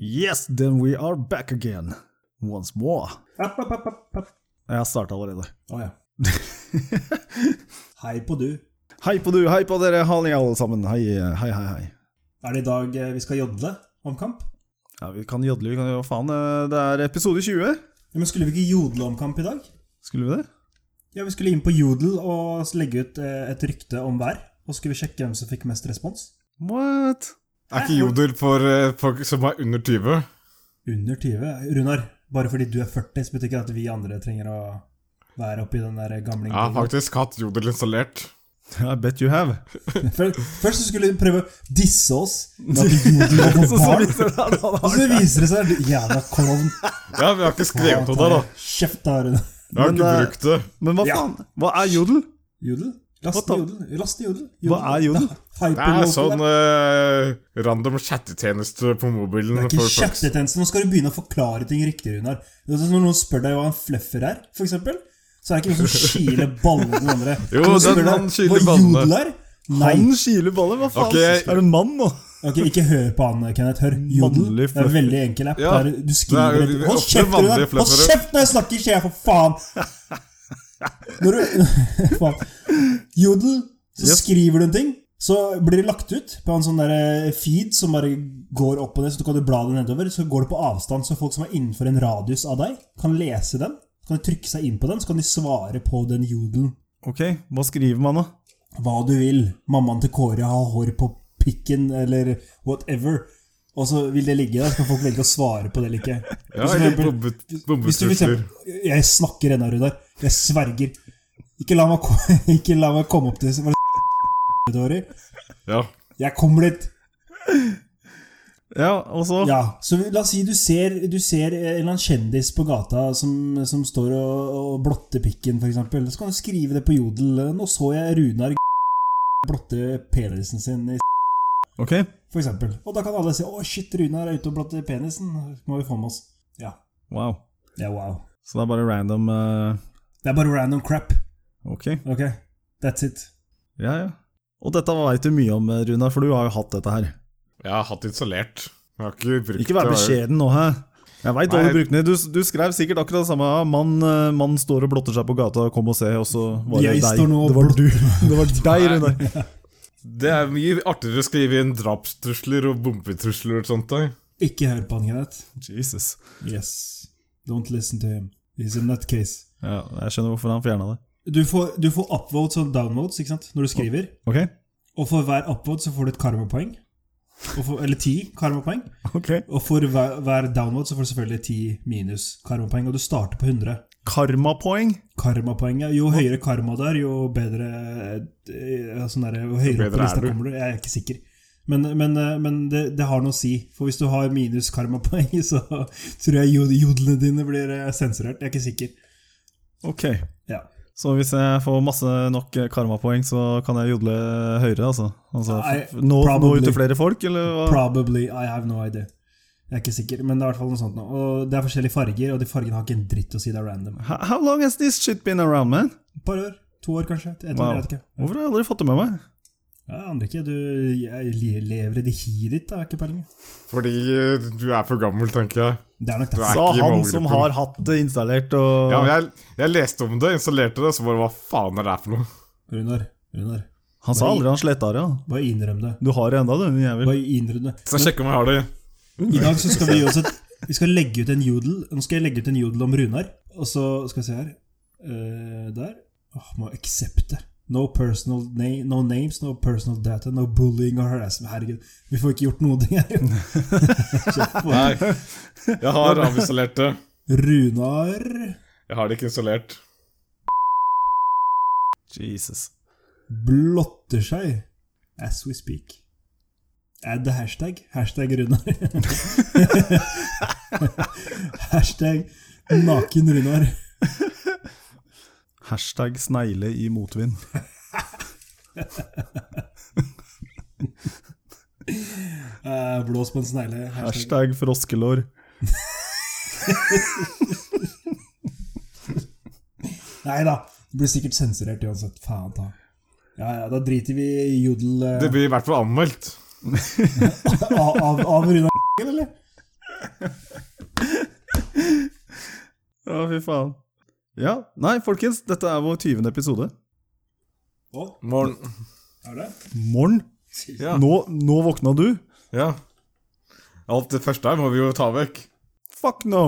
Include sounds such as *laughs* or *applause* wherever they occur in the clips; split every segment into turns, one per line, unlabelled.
Yes, then we are back again. Once more.
App, app, app, app, app.
Jeg starta allerede.
Å ja. *laughs* Hei på du.
Hei på du, hei på dere, halli alle sammen. Hei, hei, hei. hei.
Er det i dag eh, vi skal jodle om kamp?
Ja, Vi kan jodle, vi kan gjøre faen. eh, Det er episode 20.
Ja, men skulle vi ikke jodle om kamp i dag?
Skulle vi det?
Ja, vi skulle inn på Jodel og legge ut eh, et rykte om hver. Og så skulle vi sjekke hvem som fikk mest respons.
What?
Er ikke jodel for eh, folk som er under 20?
Under 20. Runar, bare fordi du er 40, så betyr ikke det at vi andre trenger å være oppi den der gamle
Jeg har
*laughs*
faktisk hatt jodel installert.
I bet you *laughs* have.
Først først så skulle hun prøve å disse oss.
*laughs*
med at Jodel var
Så,
for
så viser
barn.
det at han
Og
har
så viser det seg at du jævla klovn.
Ja, men jeg har ikke skrevet om det, da.
Kjeft, da, Runar.
Jeg har
Men,
ikke
eh,
brukt det.
Men hva
Ja.
faen? Hva er jodel?
Jodel?
What the-
Laste jodel. Laste jodel.
Hva er jodel?
Det er
Hyperlocal
sånn
app.
eh, random chattetjeneste på mobilen.
Det er ikke
for folk.
chattetjeneste. Nå skal du begynne å forklare ting riktig, Runar. Det er sånn Når noen spør deg hva en fluffer er, for eksempel, så er det ikke noen som kiler ballene til den andre.
*laughs* Jo,
Når noen spør
den-
deg
han kiler
hva
ballene.
jodel er? Nei.
Han kiler baller, hva faen?
Ok.
Er du mann nå?
Ok, Ikke hør på han, Kenneth. Hør.
Mannlig
Jodel. Det er en
fluffer.
veldig enkel app.
Ja.
Der du skriver
Det er
etter.
jo
Hold
ofte
kjeft, Runar!
vanlige
Hold
fluffere.
kjeft når jeg snakker, sier jeg, for faen! Når du *laughs* faen. Jodel, så
Yes.
skriver du en ting. Så blir det lagt ut på en sånn der eh, feed som bare går opp og ned, så du kan bla det nedover. Så går det på avstand, så folk som er innenfor en radius av deg, kan lese den. Så kan de trykke seg inn på den, så kan de svare på den jodelen.
Ok, hva skriver man da?
Hva du vil. Mammaen til Kåre har hår på pikken, eller whatever. Og så vil det ligge der, så kan folk velge å svare på det eller ikke.
Ja,
Hvis for
eller
eksempel- hvis
bombet-
du for
bombetrusler.
eksempel- Jeg snakker ennå, Runar. Jeg sverger. Ikke la meg, ko- *laughs* ikke la meg komme opp til Var det dårer?
Ja.
Jeg kommer dit!
Ja, og så?
Ja, så vi- La oss si du ser, du ser en eller annen kjendis på gata som, som står og, og blotter pikken, f.eks. Så kan du skrive det på Jodel. 'Nå så jeg Runar blotte penisen sin' i
Ok,
For eksempel. Og da kan alle se 'Å, shit, Runar er ute og blotter penisen'. Må vi få med oss. Ja.
wow.
Ja, wow.
Så det er bare random eh,
Det er bare random crap.
Ok.
Ok, that's it.
Ja, ja. Og dette veit du mye om, Runa, for du har jo hatt dette her.
Jeg har hatt det installert. Jeg har ikke brukt eh,
Ikke vær
det.
beskjeden nå, hæ? Jeg veit hva
Nei.
du brukte den i. Du, du skrev sikkert akkurat det samme. ja, Mann, eh, mann står og blotter seg på gata, kom og se, og så var det
Jeg
deg.
står nå og
Det var du. *laughs* Det var deg,
Nei.
Runa.
Det er mye artigere å skrive inn drapstrusler og bombetrusler og sånt. Da.
*laughs* Ikke hør på han, Kenneth.
Jesus.
Yes. Don't listen to him. He's a nutcase.
Ja, jeg skjønner hvorfor han fjerna det.
Du får, du får upvotes og downvotes ikke sant? når du skriver.
Ok?
Og for hver upvote så får du et karmapoeng. Og for, eller ti karmapoeng.
Ok.
Og for hver, hver downvote så får du selvfølgelig ti minus karmapoeng. Og du starter på 100.
Karmapoeng.
Karmapoenget Jo høyere karma det er, jo bedre eh, ja, sånn der, Jo høyere
bedre
opp på lista
er du.
kommer du. Jeg er ikke sikker. Men, men, eh, men det, det har noe å si. For hvis du har minus karmapoeng, *laughs* så tror jeg jod- jodlene dine blir eh, sensurert. Jeg er ikke sikker.
Ok.
Ja.
Så hvis jeg får masse nok eh, karmapoeng, så kan jeg jodle høyere, altså? altså
Nei,
f- nå, nå
probably.
ut til flere folk, eller hva?
Probably. I have no idea. Jeg er ikke sikker, men det er i hvert fall noe sånt nå. Og det er forskjellige farger, og de fargene har ikke en dritt å si. Det er random.
How how long has this shit been around, man?
Et par år. To år, kanskje. Et år,
Wow.
jeg vet ikke.
Hvorfor har jeg aldri fått det med meg?
Jeg aner ikke. Du jeg le- lever i det hiet ditt, da. Jeg har ikke peiling.
Fordi eh, du er for gammel, tenker jeg.
Det er nok
Du
det.
er
Sa
ikke i
han
målgruppen.
som har hatt det installert og
Ja, men jeg, jeg leste om det, installerte det, så bare hva faen er det her for noe?
Runar. Runar.
Han sa aldri han sletta det. ja.
Bare innrøm det.
Du har det enda, du, din jævel.
Bare innrøm det.
Skal sjekke om jeg har det.
I dag så skal vi gi oss et Vi skal legge ut en jodel. Nå skal jeg legge ut en jodel om Runar. Og så skal vi se her. Eh, der. Åh, må accepte. No personal name, no names, no personal data, no bullying or harassment. Herregud, vi får ikke gjort noen ting her. Kjeft på.
Nei, jeg har avinstallert det.
Runar
Jeg har det ikke installert.
*laughs* Jesus.
blotter seg as we speak. Add hashtag. Hashtag Runar. *laughs* hashtag naken Runar.
Hashtag snegle i motvind.
Eh, Blås på en snegle. Hashtag
Hashtag froskelår.
Nei da, det blir sikkert sensurert uansett. Faen ta. Ja, ja, da driter vi i jodel eh, *laughs*
Det blir i hvert fall anmeldt.
av, av, av Runar, eller?
fy faen. Ja, nei, folkens, dette er vår 20. episode.
Å,
Morgen.
er det?
Morn,
Ja.
nå, nå våkna du?
ja. Alt det første her må vi jo ta vekk.
Fuck no!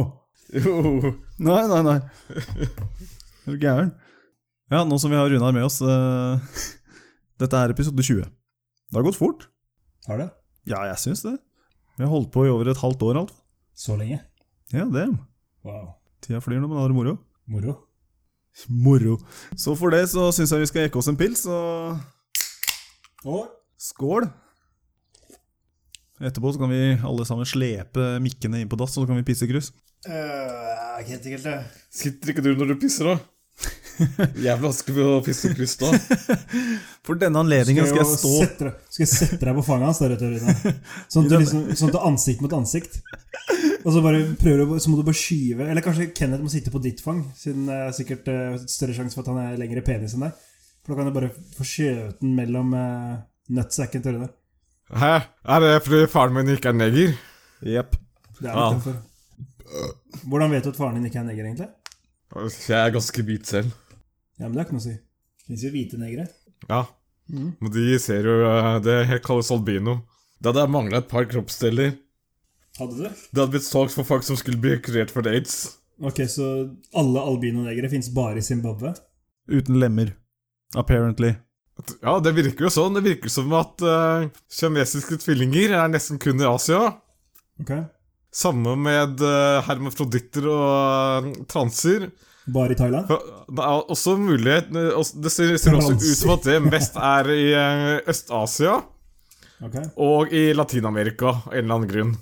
Jo.
Nei, nei, nei. Er du gæren? Ja, nå som vi har Runar med oss eh, *laughs* Dette er episode 20. Det har gått fort.
Har det?
Ja, jeg syns det. Vi har holdt på i over et halvt år, alt.
Så lenge?
Ja, damn.
Wow.
Tida flyr når man har det moro.
Moro.
Moro. Så for det så syns jeg vi skal jekke oss en pils, og
Og
skål! Etterpå så kan vi alle sammen slepe mikkene inn på dass, og så kan vi pisse i krus.
uh, Helt enkelt, det.
Sitter ikke du når du *laughs* pisser, da? Jævlig vanskelig med å pisse i kryss, da.
For denne anledningen skal jeg
jo
stå
Sette, deg- skal jeg sette deg på fanget hans der ute, Rune? Sånn at du liksom, sånn at du er ansikt mot ansikt. Og så bare prøver du, så må du bare skyve Eller kanskje Kenneth må sitte på ditt fang, siden det er sikkert eh, større sjanse for at han er lengre penis enn deg. For da kan du bare få skjøvet den mellom uh, nutsacken til Rune.
Hæ? Er det fordi faren min ikke er neger?
Jepp.
Det er
Ja.
litt derfor. Hvordan vet du at faren din ikke er neger, egentlig?
Jeg er ganske hvit selv.
Ja, men Det har ikke noe å si. Fins jo hvite negere.
Ja. Men de ser jo eh, Det kalles albino. Det hadde mangla et par kroppsdeler.
Hadde du?
Det hadde blitt solgt for folk som skulle bli kurert for aids.
Ok, Så alle albinonegere fins bare i Zimbabwe?
Uten lemmer. Apparently.
Ja, det virker jo sånn. Det virker som at eh, kinesiske tvillinger er nesten kun i Asia.
Ok?
Samme med eh, hermafroditter og eh, transer.
Bare i Thailand?
For Det er også mulighet også- Det ser, ser også ut som at det mest er i eh, Øst-Asia
Ok?
og i Latin-Amerika av en eller annen grunn.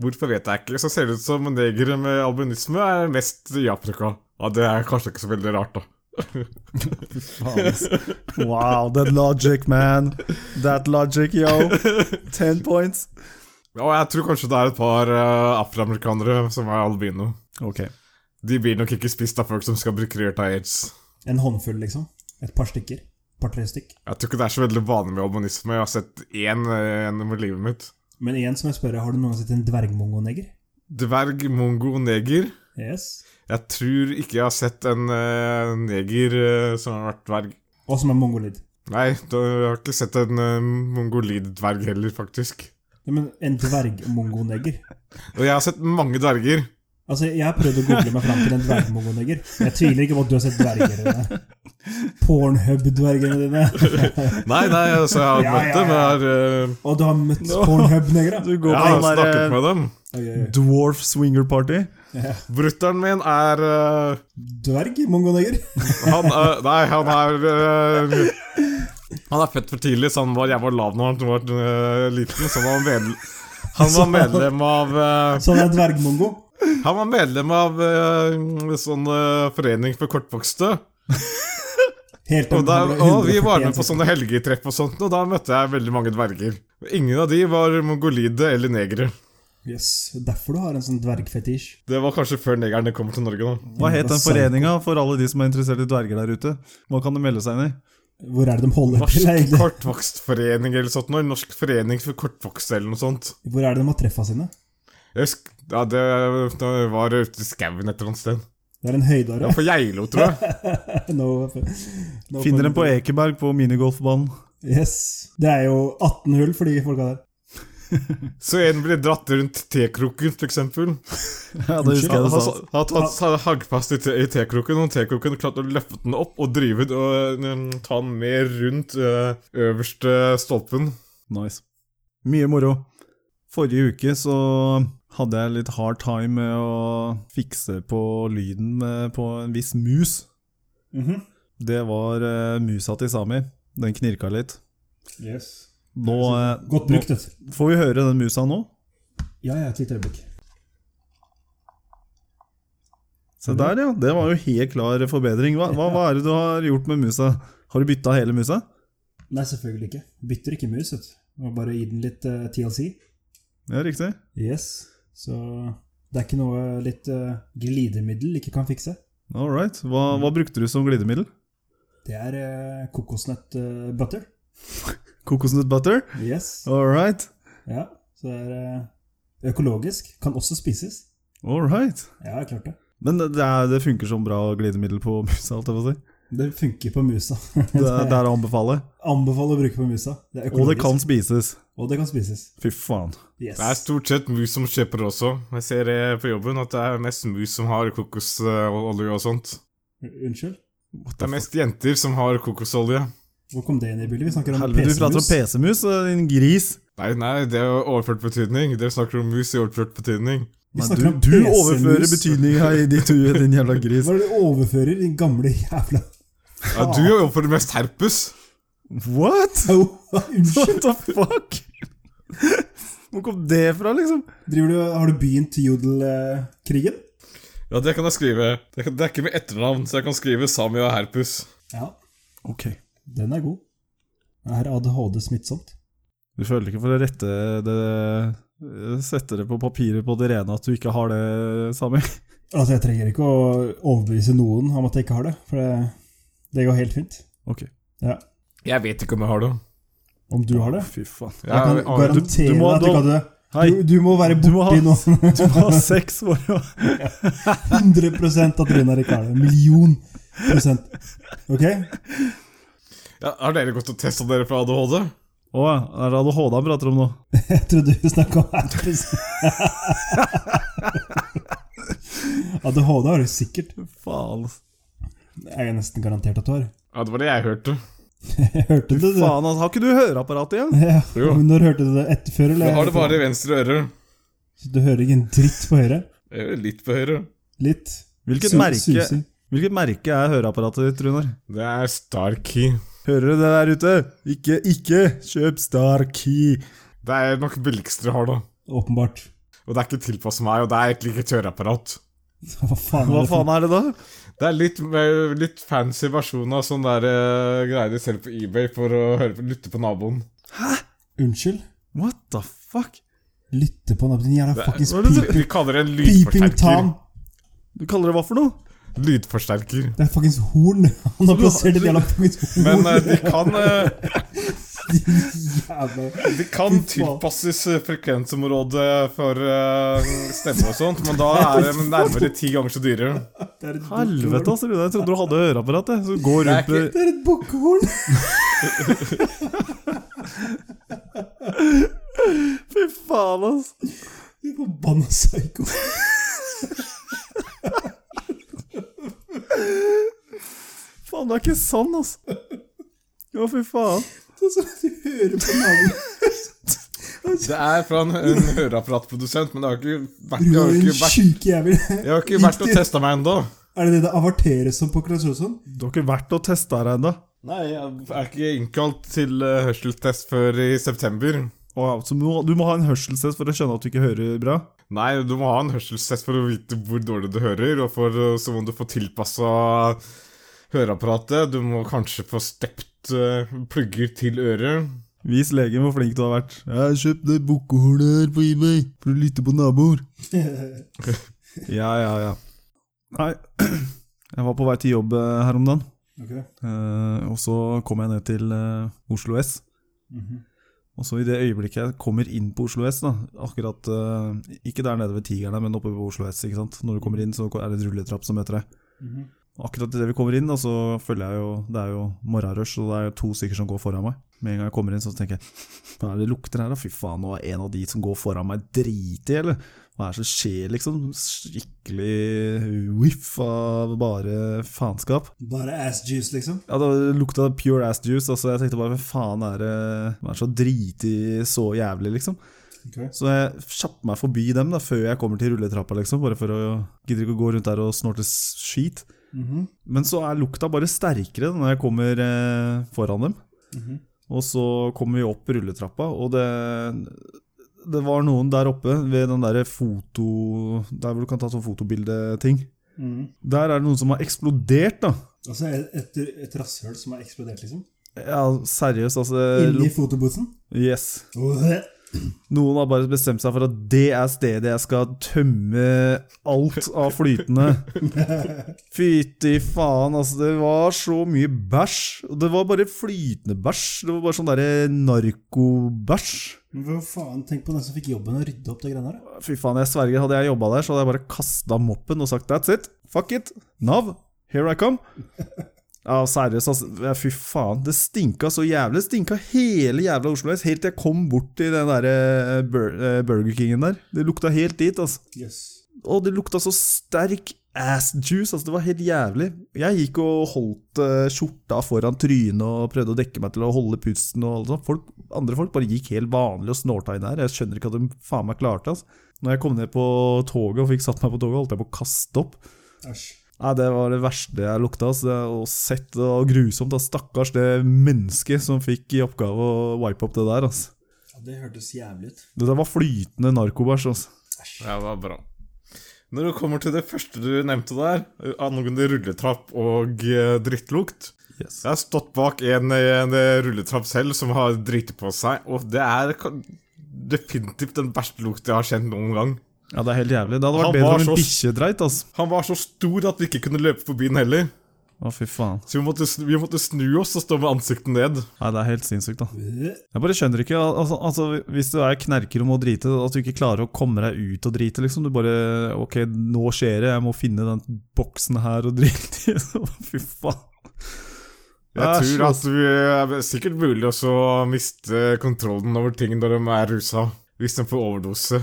Hvorfor vet jeg ikke. Så ser det ut som negere med albinisme er mest i Afrika. Ja, Det er kanskje ikke så veldig rart, da.
Faen, ass. *laughs* Wow, that logic, man. That logic, yo. Ten points.
Og jeg tror kanskje det er et par eh, afroamerikanere som er albino.
Ok.
De blir nok ikke spist av folk som skal bli kurert av aids.
En håndfull, liksom. Et par stykker. Et par-tre stykk.
Jeg tror ikke det er så veldig vanlig med albinisme. Jeg har sett én eh, gjennom livet mitt.
Men igjen som jeg spør, har du noen gang sett en dvergmongoneger?
Dverg, mongo, neger.
Yes.
Jeg tror ikke jeg har sett en eh, neger eh, som har vært dverg.
Og som er mongolid.
Nei, da, jeg har ikke sett en eh, mongolid-dverg heller, faktisk.
Nei, Men en dvergmongoneger.
Og jeg har sett mange dverger.
Altså, jeg har prøvd å google meg fram til en dvergmongoneger. Jeg tviler ikke på at du har sett dverger. Rune. Pornhub-dvergene dine.
Nei, nei, altså, jeg har
Ja,
møtt
ja,
dem. Jeg har, eh,
Og du har møtt
Nå.
pornhub-negere?
Du går på
jeg har
den
eh,
snakket
derre
med dem.
Oi, oi, oi.
dwarf swinger party.
Brutter'n min er eh,
Dverg-mongoneger?
Han er, nei, han er eh, Han er født for tidlig, så han var jævla lav når han var eh, liten. Så han var, medlem, han var medlem av eh,
Så han er dvergmongo?
Han var medlem av eh, en sånn eh, forening for kortvokste.
Helt
Og, da,
han ble
og vi var med
141
på sånne helgetreff og sånt, og da møtte jeg veldig mange dverger. Ingen av de var mongolide eller negere. sånn-
Yes, Derfor du har en sånn dvergfetisj.
Det var kanskje før negerne kommer til Norge, da.
Hva het den
Interessant.
foreninga for alle de som er interessert i dverger der ute? Hva kan de melde seg inn i?
Hvor er det de holder til?
Norsk
egentlig?
kortvokstforening eller sånt noe. Norsk forening for kortvokste eller noe sånt.
Hvor er det de har treffa sine?
Jeg husker, ja, det, det var ute i skauen et eller annet sted.
Det er en høydare.
Ja, på Geilo, tror jeg.
No, no
Finner dem på Ekeberg på minigolfbanen.
Yes. Det er jo 18 hull for de folka der.
Så en blir dratt rundt tekroken, for eksempel.
*laughs* Ja, det husker jeg
Han
det
har
sa.
har tatt seg haggfast i, te- i tekroken, og tekroken klarte å løfte den opp og drive den og eh, ta den med rundt eh, øverste stolpen.
Nice. Mye moro. Forrige uke så hadde jeg litt hard time med å fikse på lyden med, på en viss mus. Mhm. Det var eh, musa til Sami. Den knirka litt.
yes.
Nå, eh,
Godt brukt, vet du.
Får vi høre den musa nå?
Ja, ja, et lite øyeblikk.
Se der, ja. Det var jo helt klar forbedring. Hva, *laughs* hva, hva er det du har gjort med musa? Har du bytta hele musa?
Nei, selvfølgelig ikke. Bytter ikke mus, vet du. Må Bare gi den litt eh, TLC.
Ja, riktig.
Yes. Så det er ikke noe litt eh, glidemiddel ikke kan fikse.
All right. Hva, hva brukte du som glidemiddel?
Det er uh, kokosnøtt eh, butter.
Kokosnøtt butter?
Yes.
All right.
Ja, så det er eh, økologisk. Kan også spises.
All right.
Ja, klart det.
Men det, det er, det funker som bra glidemiddel på musa, alt jeg
*laughs*
får si.
Det funker på musa. *laughs*
Det, er- det er å anbefale.
Anbefaler å bruke på musa. Det er
Og det
økologisk,
kan spises.
og det kan spises.
Fy faen.
Yes.
Det er stort sett mus som kjøper også. Jeg ser det på jobben at det er mest mus som har kokosolje og sånt.
Unnskyld?
Det er mest jenter som har kokosolje.
Hvor kom det inn i bildet? Vi snakker om
Helvete, du prater om PC-mus,
PC-mus.
eh, din gris.
Nei, nei, det er jo overført betydning. Dere snakker om mus i overført betydning.
Vi
Nei, du,
snakker om
du
PC-mus.
overfører betydninga i ditt hue, din jævla gris.
Hva er det du overfører, din gamle jævla
Ja, du er jo for det mest herpes.
What?!
Au, *laughs* Unnskyld!
What the fuck?! Hvor kom det fra, liksom?
Driver du, har du begynt jodelkrigen?
Ja, det kan jeg skrive. Det, kan, det er ikke med etternavn, så jeg kan skrive Sami og herpes.
Ja,
Ok.
den er god. Er ADHD smittsomt?
Du føler ikke for å rette det Sette det på papiret på det rene at du ikke har det, Sami?
Altså, jeg trenger ikke å overbevise noen om at jeg ikke har det, for det, det går helt fint.
Ok.
Ja.
Jeg vet ikke om jeg har det.
Om du har det?
Fy faen.
Jeg kan
har-
garantere
du
deg
må-
at du ikke har det.
Hei,
Du, du må være
Du må ha-
borti noen
du har sex for å
100 at Runar ikke har det. En million prosent. Ok?
ja, har dere gått og testa dere for ADHD?
Å, er det ADHD han prater om nå?
Jeg trodde du snakka om *laughs* herpes. ADHD har du sikkert.
Faen. ass.
Jeg er nesten garantert at du har.
Ja, det var det jeg hørte.
Jeg hørte det, du.
Faen, ass. Har ikke du høreapparat igjen?
Ja,
Jo.
men Når hørte du det? Etter før, eller?
Jeg har det bare i venstre øre.
Så du hører ikke en dritt på høyre?
Jeg hører Litt på høyre.
Litt.
Hvilket
Su-
merke,
susing.
hvilket merke er høreapparatet ditt, Runar?
Det er Starkey.
Hører du det der ute? Ikke, ikke kjøp Starkey.
Det er nok billigst dere har, da.
Åpenbart. *laughs*
Og det er ikke tilpassa meg, og det er egentlig ikke et høreapparat.
Så Hva faen
Hva
er det for
faen er det da?
Det er litt, mer- litt fancy versjon av sånn der eh, greier de selger på eBay for å høre på, lytte på naboen.
Unnskyld?
What the fuck?
Lytte på naboen din, jævla
Det er,
fuckings
hva er det du-
piping,
de kaller det en
piping
lydforsterker.
tom.
Du kaller det hva for noe?
Lydforsterker.
Det er fuckings horn. *laughs* Han har
du-
plassert et jævla fuckings horn.
Men
*laughs*
eh, de kan, eh,
Jævla.
de kan
Fy faen.
tilpasses eh, frekvensområdet for eh, stemme og sånt, men da er de nærmere ti ganger så dyre.
Det er et
Helvete, ass,
bukkehorn.
Runar. Jeg trodde du hadde høreapparat. jeg. Så du går
Det er
rundt med
Det er et bukkehorn.
Fy faen, ass.
Du forbanna psyko.
Faen, du er ikke sann, ass. Å, fy faen.
Sånn som du hører på naboen.
Det er fra en, en høreapparatprodusent, men det har ikke vært,
Du
jeg
er
har
en
ikke vært,
sjuke jævel.
jeg har ikke vært og testa meg ennå.
Er det det det averteres som på Knutshausen?
Du har ikke vært og testa deg ennå.
Nei, jeg er ikke innkalt til eh, hørselstest før i september.
Å, ja, så du må, du må ha en hørselstest for å skjønne at du ikke hører bra?
Nei, du må ha en hørselstest for å vite hvor dårlig du hører, og for, eh, så må du få tilpassa høreapparatet. Du må kanskje få stept eh, plugger til øret.
Vis legen hvor flink du har vært. Jeg har kjøpt det bukkehornet her på eBay for å lytte på naboer. Ja, ja, ja. Nei, *clears throat* jeg var på vei til jobb eh, her om dagen,
Ok.
eh, og så kom jeg ned til eh, Oslo S.
Mhm.
Og så i det øyeblikket jeg kommer inn på Oslo S, da, akkurat eh, Ikke der nede ved Tigeren, men oppe på Oslo S, ikke sant. Når du kommer inn, så er det en rulletrapp som møter deg.
Mhm.
Akkurat idet vi kommer inn, da, så følger jeg jo Det er jo morgenrush, og det er jo to stykker som går foran meg. Med en gang jeg kommer inn, så tenker jeg Hva er det det lukter her, da? Fy faen, nå er en av de som går foran meg, driti, eller? Hva er det som skjer, liksom? Skikkelig whiff av bare faenskap.
Bare ass juice, liksom?
Ja, det lukta pure ass juice. Altså, jeg tenkte bare hva faen er det Hva er det så driti så jævlig, liksom?
Ok.
Så jeg kjappte meg forbi dem da, før jeg kommer til rulletrappa, liksom. Bare for å gidder ikke å gå rundt der og snorte skit.
Mhm.
Men så er lukta bare sterkere når jeg kommer eh, foran dem.
Mhm.
Og så kommer vi opp rulletrappa, og det Det var noen der oppe ved den derre foto... Der hvor du kan ta sånn fotobildeting.
Mhm.
Der er det noen som har eksplodert, da.
Altså et, et, et rasshøl som har eksplodert, liksom?
Eh,
Ja, seriøst, altså
Inni fotobooten?
Yes.
Åh,
Noen har bare bestemt seg for at det er stedet jeg skal tømme alt av flytende. Fytti faen, altså. Det var så mye bæsj. Og det var bare flytende bæsj. Det var bare sånn derre narkobæsj.
Men Hva faen, tenk på den som fikk jobben å rydde opp det greiene der. da.
Fy faen, jeg sverger, hadde jeg jobba der, så hadde jeg bare kasta moppen og sagt that's it. Fuck it. Nav, here I come. Ja, seriøst, altså. Ja, Fy faen, det stinka så jævlig. Det stinka hele jævla Oslo S, helt til jeg kom bort til den der eh, bur eh, Burger Kingen der. Det lukta helt dit, altså.
Yes.
Og det lukta så sterk ass juice, altså. Det var helt jævlig. Jeg gikk og holdt eh, skjorta foran trynet og prøvde å dekke meg til å holde pusten og alt sånt. Folk, andre folk bare gikk helt vanlig og snorta inn her. Jeg skjønner ikke at de faen meg klarte, altså. Når jeg kom ned på toget og fikk satt meg på toget, holdt jeg på å kaste opp.
Æsj.
Nei, Det var det verste jeg lukta. ass. Det og sett og grusomt. ass. Stakkars det mennesket som fikk i oppgave å wipe opp det der. ass.
Ja, det hørtes jævlig ut.
Det der var flytende narkobæsj. ass.
Æsj.
Ja, det var bra. Når det kommer til det første du nevnte der, angående rulletrapp og eh, drittlukt
Yes.
Jeg har stått bak en, en eh, rulletrapp selv som har driti på seg, og det er kan- definitivt den verste lukta jeg har kjent noen gang.
Ja, Det er helt jævlig. Det hadde
Han
vært bedre
var
om en
så-
bikkje dreit. ass.
Han var så stor at vi ikke kunne løpe forbi den heller,
Å, fy faen.
så vi måtte, snu- vi måtte snu oss og stå med ansiktet ned.
Nei, Det er helt sinnssykt. da.
Øh,
Jeg bare skjønner ikke. al- Altså, altså Hvis du er knerker om å drite, at du ikke klarer å komme deg ut og drite. liksom. Du bare OK, nå skjer det. Jeg må finne den boksen her og *laughs* drite i. Fy faen.
Jeg
Æsj,
tror
ass.
at vi eh, er sikkert mulig også å miste kontrollen over ting når de er rusa, hvis de får overdose.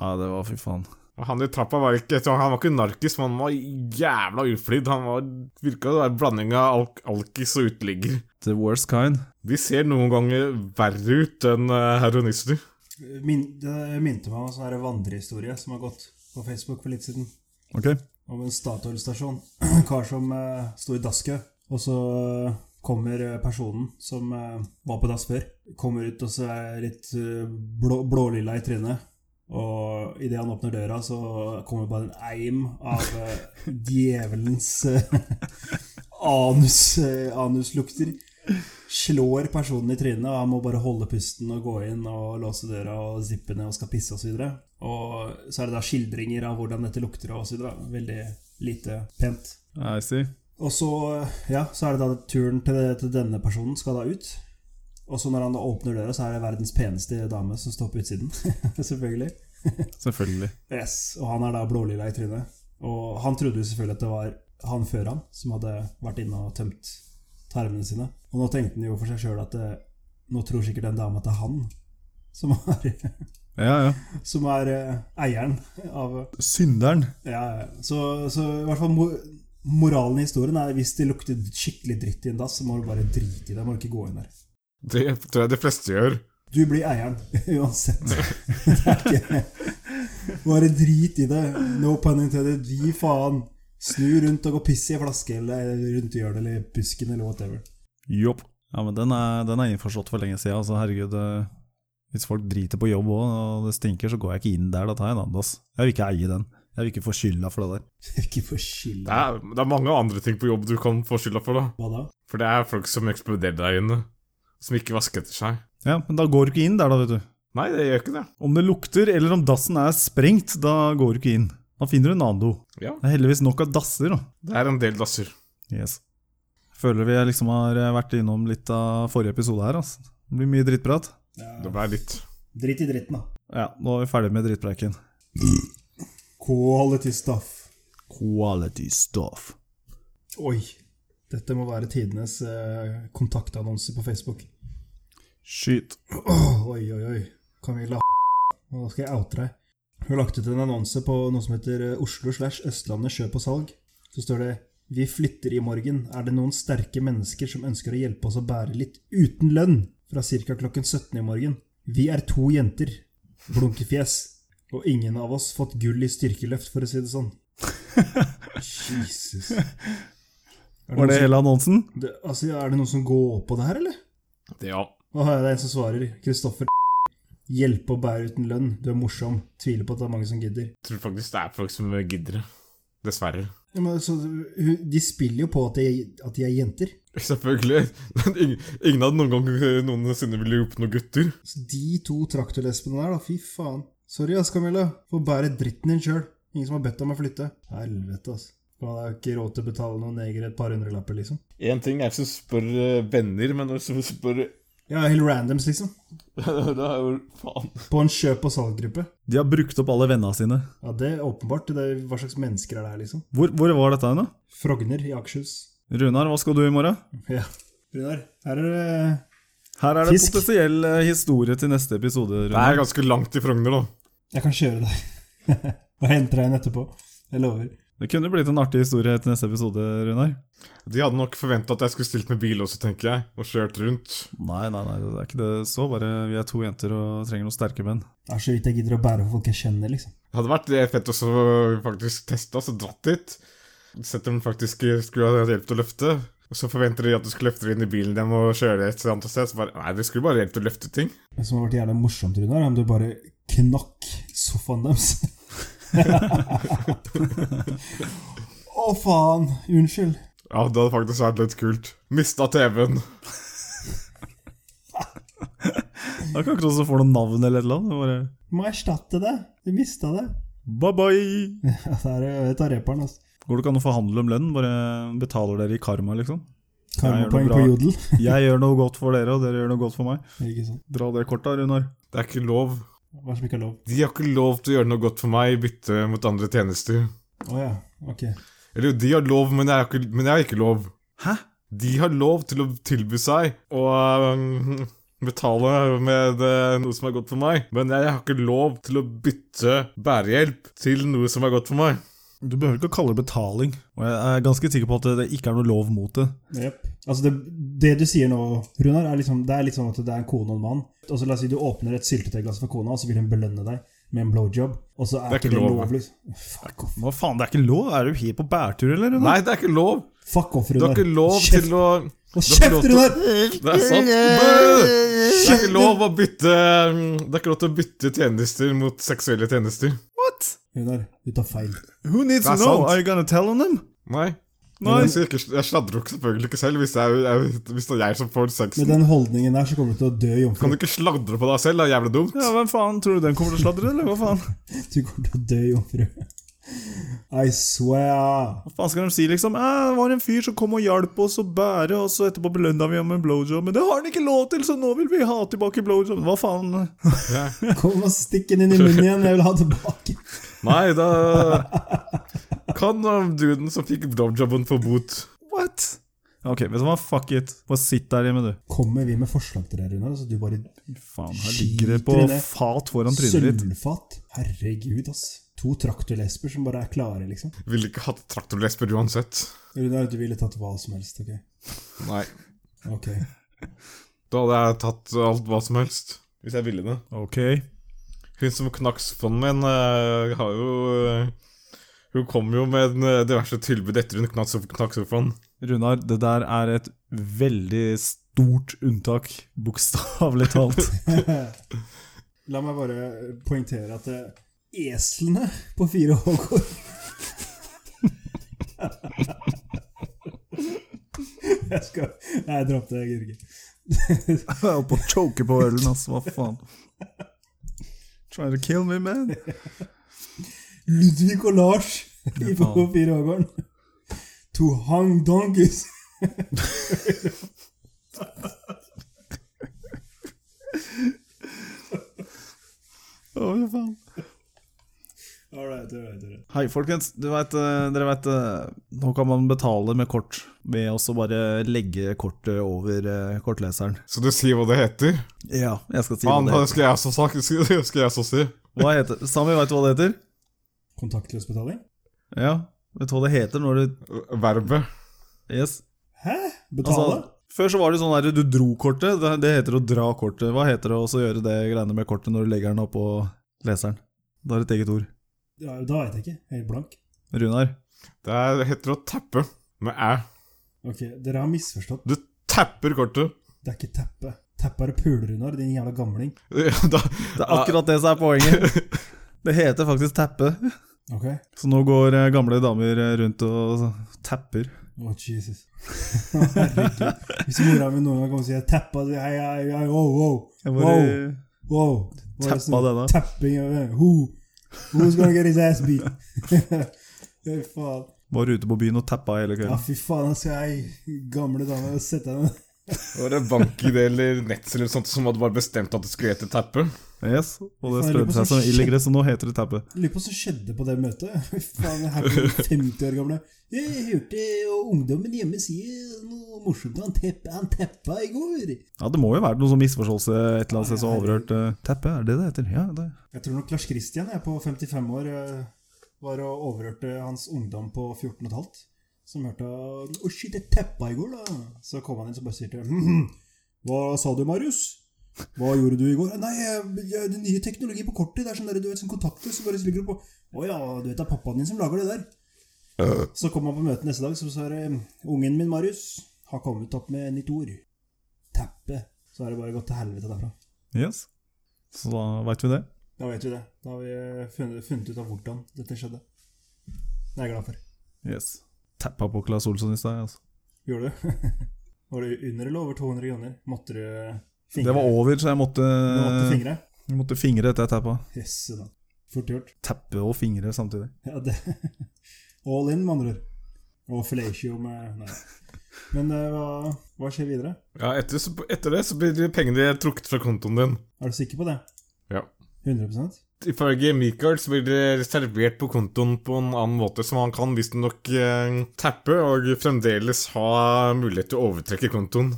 Ja, det var fy faen.
Og Han i trappa var ikke Han var ikke narkis, men han var jævla uflidd. Han var, virka å være en blanding av alk alkis og uteligger.
The worst kind.
De ser noen ganger verre ut enn eh, heroinister.
Min, det minte meg om en sånn her vandrehistorie som har gått på Facebook for litt siden.
Ok?
om en Statoil-stasjon. *clears throat* Kar som eh, sto i dasskø, og så eh, kommer eh, personen som eh, var på dass før, kommer ut og så er litt eh, blå, blålilla i trynet. Og idet han åpner døra, så kommer bare en eim av eh, *laughs* djevelens eh, *laughs* anus, eh, anuslukter. Slår personen i trynet, og han må bare holde pusten og gå inn og låse døra og zippe ned og skal pisse osv. Og, og så er det da skildringer av hvordan dette lukter og osv. Veldig lite pent.
I see.
Og så, ja, så er det da turen til, til denne personen skal da ut. Og så når han da åpner døra, så er det verdens peneste dame som står på utsiden. *laughs* selvfølgelig.
Selvfølgelig.
Yes, og han er da blålilla i trynet. Og han trodde jo selvfølgelig at det var han før han som hadde vært inne og tømt tarmene sine. Og nå tenkte han jo for seg sjøl at det, nå tror sikkert den dama at det er han som er, *laughs*
Ja, ja.
som er eh, eieren av
Synderen.
ja, ja. så, så i hvert fall mo- moralen i historien er hvis det lukter skikkelig dritt i en dass, så må du bare drite i det. Må du ikke gå inn der.
Det tror jeg de fleste gjør.
Du blir eieren *laughs* uansett. Det er ikke Bare drit i det. No pun intended. Gi faen. Snu rundt og gå og piss i ei flaske eller rundt i hjørnet eller busken eller whatever. *laughs*
Jopp. Ja, men den er, den er innforstått for lenge siden. Altså, herregud, eh, hvis folk driter på jobb også, og det stinker, så går jeg ikke inn der. Da tar jeg en annen dass. Jeg vil ikke eie den. Jeg vil ikke få skylda for det der.
Ikke for skylda.
Det er, det er mange andre ting på jobb du kan få skylda for, da.
Hva da?
For det er folk som eksploderer der inne. Som ikke vasker etter seg.
Ja, men da går du ikke inn der, da, vet du.
Nei, det gjør ikke det.
Om det lukter, eller om dassen er sprengt, da går du ikke inn. Da finner du en annen do.
Ja,
Det er heldigvis nok av dasser, da.
det er en del dasser.
Yes. Føler vi liksom har vært innom litt av forrige episode her, altså. Det blir mye drittprat.
Det
Ja.
ble litt
Drit i dritten, da.
Ja, nå er vi ferdig med drittpreiken.
Quality stuff.
Quality stuff.
Oi. Dette må være tidenes eh, kontaktannonse på Facebook.
Skyt.
Åh, Oi, oi, oi. Kan vi la Nå skal jeg oute deg. Hun har lagt ut en annonse på noe som heter eh, Oslo slash Østlandet kjøp og salg. Så står det Vi flytter i morgen. Er det noen sterke mennesker som ønsker å hjelpe oss å bære litt uten lønn fra ca. klokken 17 i morgen? Vi er to jenter. Blunkefjes. Og ingen av oss fått gull i styrkeløft, for å si det
*laughs*
sånn. Jesus.
Var
Er det noen
det
som,
hele annonsen?
det, altså, er det noen som går på det her, eller?
Ja.
Og her er det en som svarer. Kristoffer Hjelpe å bære uten lønn. Du er morsom. Tviler på at det er mange som gidder.
Jeg tror faktisk det er folk som gidder det. Dessverre. *laughs*
Ja, men, så, hun- de spiller jo på at de, at de er jenter.
Selvfølgelig. Men ingen, ingen hadde noen gang eh, noensinne ville gjort noen gutter.
Så de to traktorlesbene der, da, fy faen. Sorry, ass, Camilla. Får bære dritten din sjøl. Ingen som har bedt deg om å flytte. Helvete, ass. Man har jo ikke råd til å betale noen negere et par hundrelapper, liksom.
Én ting er hvis du spør eh, venner, men hvis du spør *laughs*
Ja, helt randoms, liksom.
Da er jo faen
På en kjøp- og salggruppe.
De har brukt opp alle vennene sine.
Ja, det er åpenbart. Det er, hva slags mennesker er det her, liksom?
Hvor, hvor var dette hen, da?
Frogner i Akershus.
Runar, hva skal du i morgen?
Ja. Runar, her er det
Her er det
Fisk.
potensiell eh, historie til neste episode.
Det er
Runar.
ganske langt i Frogner, da.
Jeg kan kjøre deg. *laughs* Og henter deg inn etterpå. Jeg lover.
Det kunne blitt en artig historie til neste episode, Runar.
De hadde nok forventa at jeg skulle stilt med bil også, tenker jeg, og kjørt rundt.
Nei, nei, nei, det er ikke det. Så bare vi er to jenter og trenger noen sterke menn.
Det er så vidt jeg gidder å bære for folk jeg kjenner, liksom.
Det hadde vært det fett også faktisk testa, så dratt dit. Sett om de faktisk eh, skulle ha hjelp til å løfte. Og så forventer de at du skal løfte det inn i bilen dem og kjøre et annet sted. Så bare, nei, de skulle bare hjelp til å løfte ting.
Det som har vært jævla morsomt, Runar, er om du bare knakk sofaen deres. *laughs* Å, faen. Unnskyld.
Ja, det hadde faktisk vært litt kult. Mista TV-en.
Det er ikke akkurat som får noen navn eller et eller annet. Bare
Du må erstatte det. Du mista det.
bye-bye!
Ja, det er jeg tar reperen, altså.
Går det ikke an å forhandle om lønn? Bare betaler dere i karma, liksom? Jeg gjør det
Karmapoeng på
bra.
jodel. *laughs*
Jeg gjør noe godt for dere, og dere gjør noe godt for meg.
Ikke sant.
Dra det kortet, Runar.
Det er ikke lov.
Hva som ikke er lov.
De har ikke lov til å gjøre noe godt for meg i bytte mot andre tjenester.
Å ja, ok.
Eller jo, de har lov, men jeg har ikke, men jeg har ikke lov.
Hæ?
De har lov til å tilby seg å øhm, betale med øh, noe som er godt for meg, men jeg har ikke lov til å bytte bærehjelp til noe som er godt for meg.
Du behøver ikke å kalle det betaling, og jeg er ganske sikker på at det ikke er noe lov mot det.
Jep. Altså det, det du sier nå, Runar, er liksom, det er litt sånn at det er en kone og en mann. Og så La oss si du åpner et syltetøyglass for kona, og så vil hun belønne deg med en blowjob. Og så er,
Det er
ikke
ikke
det
lov.
lov. liksom. Fuck off,
Hva faen, det er ikke lov? Er du helt på bærtur, eller? Runar?
Nei, det er ikke lov.
Fuck off
Du
Runar.
har ikke lov
Kjeft.
til å
Hold
du har ikke lov
kjeft,
til å-
Runar!
Det er sant. Det er ikke lov å bytte øhm, Det er ikke lov til å bytte tjenester mot seksuelle tjenester.
What?
Runar, du tar feil.
Who needs
Det
to
er
know?
sant.
Are you gonna tell on them?
Nei.
Nei.
Jeg, sier ikke, jeg sladrer jo ikke- selvfølgelig ikke selv hvis, jeg, jeg, hvis det er jeg som får
Med
sexen.
den holdningen der så kommer du til å dø
Kan
jomfru.
du ikke sladre på deg selv? Det er jævlig dumt.
Ja, hvem faen? Tror du den kommer til å sladre, eller hva faen?
Du kommer til å dø jomfru. I swear.
Hva faen skal de si, liksom? Eh, det var en fyr som kom og hjalp oss å bære, og så etterpå belønna vi ham med en blowjob, men det har han ikke lov til, så nå vil vi ha tilbake blowjob. Hva faen?
Kom og stikk den inn i munnen igjen, jeg vil ha tilbake.
Nei, da Kan uh, duden som fikk blowjobben få bot?
What? Ok, vet du hva, fuck it. Bare sitt der hjemme, du.
Kommer vi med forslag til deg, Runar, så du bare
Faen, her ligger det på
Skiter i det.
fat foran trynet ditt.
Sølvfat? Herregud, ass. To traktorlesber som bare er klare, liksom.
Ville ikke hatt traktorlesper uansett.
Runar, du ville tatt hva som helst, ok?
Nei.
*laughs*
Ok.
Da hadde jeg tatt alt hva som helst. Hvis jeg ville det.
Ok.
Hun som knakk sofaen min, eh, har jo eh, Hun kom jo med en, eh, diverse tilbud etter hun knakk sof- knakk sofaen.
Runar, det der er et veldig stort unntak, bokstavelig talt.
La meg bare poengtere at eh, eslene på 4H går *laughs* Jeg skal Nei, jeg dropp det, jeg gidder ikke.
Jeg er oppe og choker på ølen, ass. Hva faen? Trying to kill me, man.
Ludvig og Lars i
Ja, faen.
4H-gården. To hang donkeys.
Å, fy faen.
All right, all right, all right.
Hei, folkens. Du vet, eh, dere vet eh, Nå kan man betale med kort ved også bare legge kortet over eh, kortleseren.
Så du sier hva det heter?
Ja, jeg skal si hva
Faen,
det
det
heter.
skal jeg også sagt. *laughs* Skal skal jeg også si.
Hva heter. Sami, vet du hva det heter?
Kontaktløs betaling?
Ja. Vet du hva det heter når du
Verbet.
Yes.
Hæ? Betale?
Altså, før så var det sånn der du dro kortet. Det, det heter å dra kortet. Hva heter det også å gjøre det greiene med kortet når du legger den oppå leseren? Det har et eget ord.
Ja, da veit jeg ikke. Helt blank.
Runar?
Det er- heter å tappe med æ.
Ok, Dere har misforstått.
Du tapper kortet. *laughs*
Det er ikke teppe. Teppe er det pulerunar, din jævla gamling.
Ja, Da,
Det er akkurat det som er poenget. Det heter faktisk teppe.
Ok?
Så nå går eh, gamle damer eh, rundt og tapper.
Å, Jesus. Herregud. Hvis mora mi noen gang kommer og sier 'tappa' sier jeg, hei, hei, hei, wow, wow,
Jeg bare
wow, wow. Hva er det som-
tappa denne.
Tapping av det. Who? Who's gonna get his ass beat? *laughs* Fy faen.
Var ute på byen og tappa hele
Ja,
kvelden.
fy faen, altså, jeg gamle dame og sette henne
Var det BankID eller Nets eller sånt som hadde bare bestemt at det skulle hete Tappe?
Yes, og det
Faen, jeg lurer på
spredde seg
sånn
som ild i gress, og nå heter det tappe.
Lurer på hva som skjedde på det møtet. *laughs* Fy faen, jeg er jo 50 år gamle. Jeg hørte ungdommen hjemme si noe morsomt. Han, tepp, han teppa i går.
Ja, Det må jo være noe sånn misforståelse et eller annet sted som har overhørt eh, Tappe, er det det heter? Ja, det.
Jeg tror nok Lars Christian jeg på 55 år eh, var og overhørte hans ungdom på 14 15, som hørte Å, shit, jeg teppa i går, da. Så kom han inn og bare sier til ham Hva sa du, Marius? Hva gjorde du i går? Nei, jeg- jeg- det er nye teknologi på kortet. Det er sånn der, du vet, sånn kontaktløs, så bare ligger du på Å ja, du vet det er pappaen din som lager det der. Så kom han på møtet neste dag, så sa det Ungen min, Marius, har kommet opp med nytt ord. Teppe. Så er det bare gått til helvete derfra.
Yes. Så da veit vi det.
Da vet vi det. Da har vi eh, funnet, funnet ut av hvordan dette skjedde. Det er jeg glad for.
Yes. Tappa på Claes Olsson i sted. Altså.
Gjorde du? *laughs* var det under eller over 200 kroner? Måtte du eh, fingre?
Det var over, eh, så jeg måtte,
Du måtte fingre?
jeg måtte fingre etter jeg tappa.
Jøsse da. Fort gjort.
Tappe og fingre samtidig.
Ja, det. *laughs* All in, med andre ord. Og fellatio med Nei. Men eh, hva, hva skjer videre?
Ja, etter, så- etter det så blir de pengene trukket fra kontoen din.
Er du sikker på det?
Ja.
100
Ifølge Michael så blir det servert på kontoen på en annen måte, som han kan visstnok eh, tappe og fremdeles ha mulighet til å overtrekke kontoen.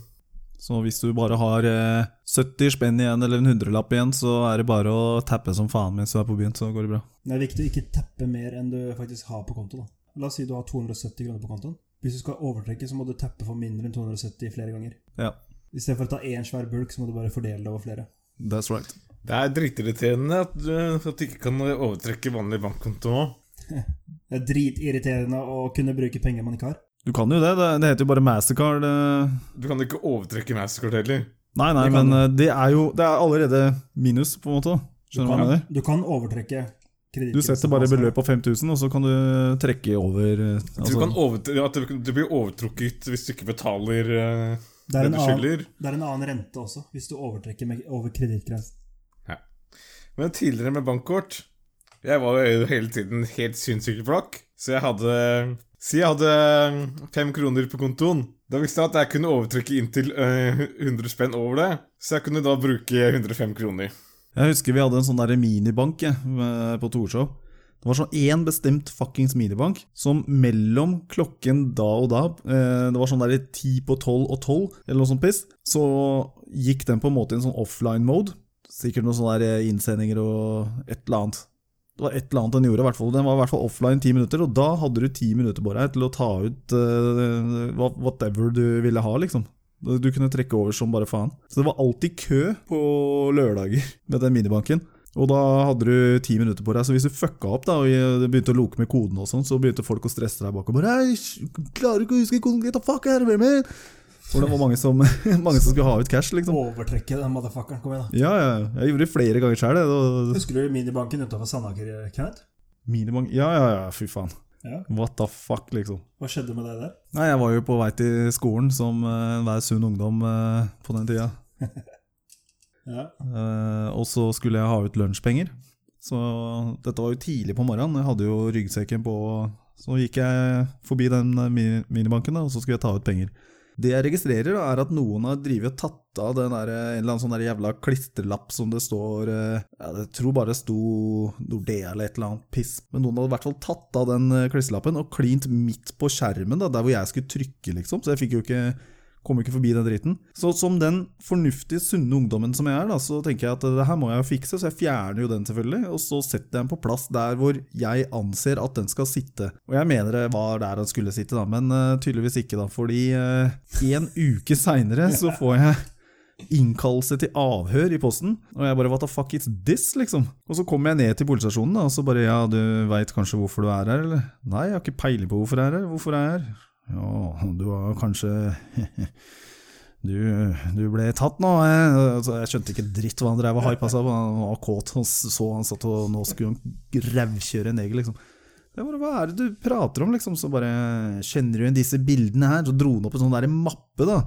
Så hvis du bare har eh, 70 spenn igjen, eller en hundrelapp igjen, så er det bare å tappe som faen mens du er på byen, så går det bra.
Det er viktig å ikke teppe mer enn du faktisk har på konto. da. La oss si du har 270 kroner på kontoen. Hvis du skal overtrekke, så må du teppe for mindre enn 270 flere ganger.
Ja,
I stedet for å ta én svær bulk, så må du bare fordele det over flere.
that's right.
Det er dritirriterende at du, at du ikke kan overtrekke vanlig bankkonto nå.
Det er dritirriterende å kunne bruke penger man ikke har.
Du kan jo det, det, det heter jo bare Mastercard. Eh.
Du kan ikke overtrekke Mastercard heller.
Nei, nei,
Det kan
men eh, det er jo det er allerede minus, på en måte. Skjønner du hva jeg mener?
Du kan overtrekke kreditt.
Du setter bare beløp på 5000, og så kan du trekke over eh,
Du
altså,
kan overtre at du, du blir overtrukket hvis du ikke betaler eh,
Det
det,
er, en
du
annen,
skylder.
det er en annen rente også, hvis du overtrekker med, over kredittgrensen.
Men tidligere med bankkort Jeg var jo hele tiden helt sinnssykt flakk. Så jeg hadde Si jeg hadde eh, fem kroner på kontoen. Da visste jeg at jeg kunne overtrekke inntil eh, 100 spenn over det. Så jeg kunne da bruke 105 kroner.
Jeg husker vi hadde en sånn der minibank jeg, med- på Torshov. Det var sånn én bestemt fuckings minibank som mellom klokken da og da eh, Det var sånn der ti på tolv og tolv, eller noe sånt piss. Så gikk den på en måte i en sånn offline-mode. Sikkert noen sånne der eh, innsendinger og et eller annet. Det var et eller annet den gjorde, i hvert fall. Den var i hvert fall offline ti minutter, og da hadde du ti minutter på deg til å ta ut eh, hva- whatever du ville ha, liksom. Du kunne trekke over som bare faen. Så det var alltid kø på lørdager med den minibanken. Og da hadde du ti minutter på deg, så hvis du fucka opp da, og begynte å loke med koden, og sånn, så begynte folk å stresse deg bakover. Hei, klarer du ikke å huske koden, get the fuck out of here, man!» For det var mange som, *laughs* mange som skulle ha ut cash, liksom.
Overtrekke den motherfuckeren. Kom igjen, da.
Ja, ja, jeg gjorde det flere ganger sjøl, det. og-
Husker du minibanken utafor Sandaker, Kenneth?
Minibank Ja, ja, ja, fy faen.
Ja.
What the fuck, liksom.
Hva skjedde med deg der?
Nei, jeg var jo på vei til skolen som eh, enhver sunn ungdom eh, på den tida.
Ja.
Eh, og så skulle jeg ha ut lunsjpenger. Så dette var jo tidlig på morgenen. Jeg hadde jo ryggsekken på. Så gikk jeg forbi den eh, mi- minibanken, da, og så skulle jeg ta ut penger. Det jeg registrerer, da, er at noen har drivet og tatt av den der, eh, en eller annen sånn der jævla klistrelapp som det står eh, ja, Jeg tror bare det sto Nordea eller et eller annet piss. Men noen hadde i hvert fall tatt av den eh, klistrelappen og klint midt på skjermen, da, der hvor jeg skulle trykke, liksom. Så jeg fikk jo ikke Kommer ikke forbi den driten. Så som den fornuftige, sunne ungdommen som jeg er, da, så tenker jeg at det her må jeg jo fikse, så jeg fjerner jo den selvfølgelig, og så setter jeg den på plass der hvor jeg anser at den skal sitte. Og jeg mener det var der den skulle sitte, da, men eh, tydeligvis ikke, da, fordi eh, en uke seinere så får jeg innkallelse til avhør i posten. Og jeg bare what the fuck is this, liksom? Og så kommer jeg ned til politistasjonen, da, og så bare ja, du veit kanskje hvorfor du er her, eller? Nei, jeg har ikke peiling på hvorfor jeg er her. Hvorfor er jeg her? Ja, du har kanskje du, du ble tatt nå. eh?» Så jeg skjønte ikke dritt hva han drev og hypa seg på. Han var kåt. Han så han satt og nå skulle han rævkjøre en neger, liksom. Jeg bare, Hva er det du prater om, liksom? Så bare Kjenner du igjen disse bildene her? Så dro han opp en sånn der mappe, da.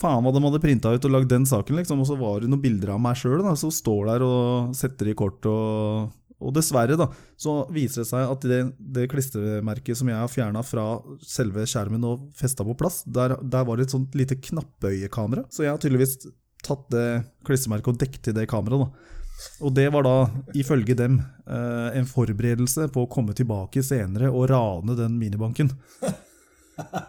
Faen hva de hadde printa ut og lagd den saken, liksom. Og så var det noen bilder av meg sjøl, da. Så står der og setter i kort og og dessverre, da, så viser det seg at det, det klistremerket som jeg har fjerna fra selve skjermen og festa på plass, der, der var det et sånt lite knappeøyekamera. Så jeg har tydeligvis tatt det klistremerket og dekket til det kameraet, da. Og det var da, ifølge dem, eh, en forberedelse på å komme tilbake senere og rane den minibanken. *laughs*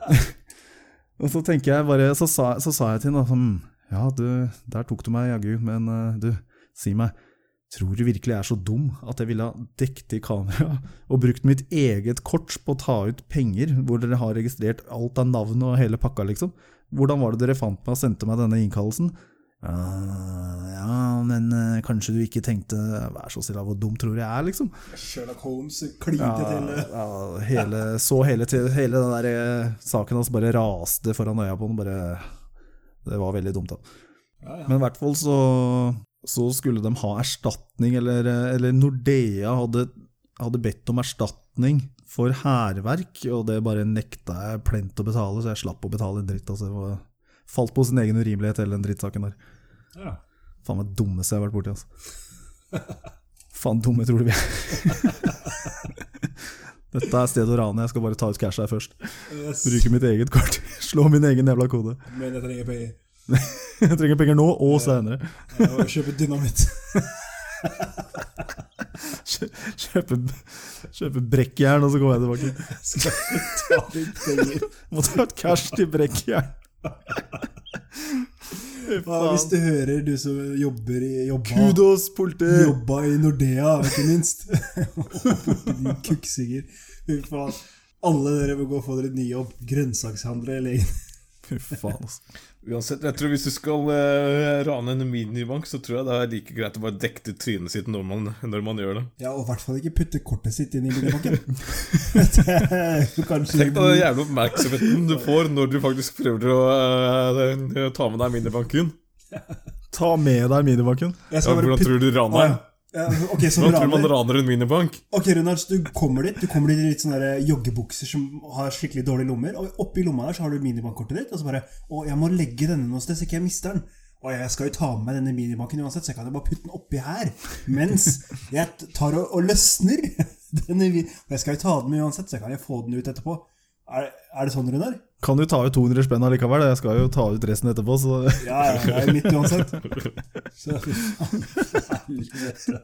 og så tenker jeg bare, så sa, så sa jeg til henne da sånn Ja, du, der tok du meg, jaggu, men eh, du, si meg. Tror du virkelig jeg er så dum at jeg ville ha dekket i kameraet og brukt mitt eget kort på å ta ut penger hvor dere har registrert alt av navn og hele pakka, liksom? Hvordan var det dere fant meg og sendte meg denne innkallelsen? «Ah, ja, men eh, kanskje du ikke tenkte Vær så snill, da, hvor dum tror du jeg er, liksom?
Sherlock Holmes klinte til eh,
ja, hele, så hele, til, hele den der eh, saken hans bare raste foran øya på den. Bare, det var veldig dumt, da. Men i hvert fall så, så skulle de ha erstatning, eller, eh, eller Nordea hadde, hadde bedt om erstatning for hærverk, og det bare nekta jeg plent å betale, så jeg slapp å betale en dritt. Altså, det var, falt på sin egen urimelighet, hele den drittsaken der.
ja.
Faen meg dummeste jeg har vært borti, altså. Faen dumme tror du vi er. Dette er stedet å rane, jeg skal bare ta ut cash her først.
Yes.
Bruke mitt eget kort. Slå min egen jævla kode.
Men jeg trenger penger.
Jeg trenger penger nå og senere.
Jeg må kjøpe dynamitt. *laughs*
Kjø- Kjøpe, kjøpe brekkjern, og så kommer jeg tilbake.
Skal jeg ta litt penger.
*laughs*
Må ta ut cash til brekkjern. Fy
Ja, hvis
faen.
du hører, du som jobber i jobba,
Kudos, politi!
jobba i Nordea, ikke minst. *laughs* Din kukksiger. Fy faen. Alle dere må gå og få dere ny jobb. Grønnsakshandlere i legen.
Fy faen, altså.
Uansett, jeg tror hvis du skal eh, rane en minibank, så tror jeg det er like greit å bare dekke til trynet sitt når man, når man gjør det.
Ja, og i hvert fall ikke putte kortet sitt inn i
*laughs*
minibanken. Det er jo Kanskje
Tenk deg den jævla oppmerksomheten du får når du faktisk prøver å eh, ta med deg minibanken.
Ta med deg minibanken.
Jeg
Ja,
skal bare
hvordan
putte
tror du du
Å,
raner?
ja. Ja, Ok, så
Hvordan tror du man
raner.
raner en minibank?
Ok, Runar, så du kommer dit Du kommer dit i litt sånne der eh, joggebukser som har skikkelig dårlige lommer. Og oppi lomma der så har du minibankkortet ditt. Og så bare Å, jeg må legge denne noe sted, så ikke jeg mister den. Og jeg skal jo ta med meg denne minibanken uansett, så jeg kan jo bare putte den oppi her. Mens jeg t- tar og, og løsner *laughs* denne vi- Og jeg skal jo ta den med uansett, så jeg kan jo få den ut etterpå. Er, er det sånn, Runar?
Kan jo ta ut 200 spenn allikevel, jeg skal jo ta ut resten etterpå, så
Ja, ja, det er mitt uansett. Så *laughs* fy faen. Helvete, altså.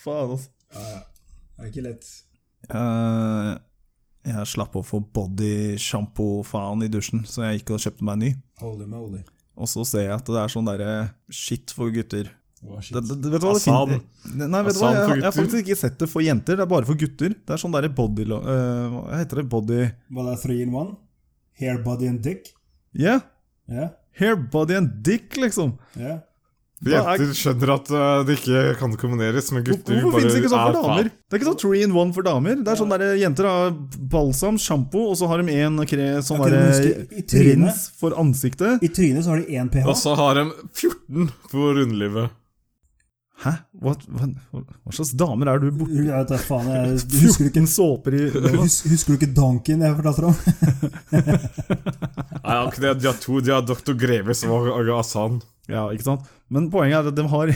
Faen, altså.
Det er ikke lett.
Eh, jeg slapp å få bodysjampo-faen i dusjen, så jeg gikk og kjøpte meg en ny.
Holy moly.
Og så ser jeg at det er sånn derre shit for gutter.
Hva skjer?
Det, det, det, vet du hva det
Asan.
finner- Nei, vet du hva? Jeg,
Asan for
jeg har
gutter.
faktisk ikke sett det for jenter, det er bare for gutter. Det er sånn derre body... lo- eh, hva heter det? Body
Hva det er three in one? Hair, body and dick?
Yeah!
Ja,
Hair, body and dick, liksom!
ja.
Hva er-
Jenter skjønner at eh, det ikke kan kombineres, men gutter
Hvorfor
bare
finnes det ikke sånn for
"Ah, faen."
damer? Det er ikke sånn three in one for damer. Det er sånn der, Jenter har balsam, sjampo, og så har de en kre, sånn
Jeg kunne
derre
huske i trynet.
rens for ansiktet.
I trynet så har de én pH.
Og så har de 14 for underlivet.
Hæ? Hva, hva, hva slags damer er du borti?
Ja, vet du, faen, jeg, du husker,
*laughs*
14 såper i
du hus- husker du ikke Donken jeg fortalte om?
Nei, ok, de, de har to. De har Dr. Greves og Aga Asan.
Ja, ikke sant? Men poenget er at de har *laughs*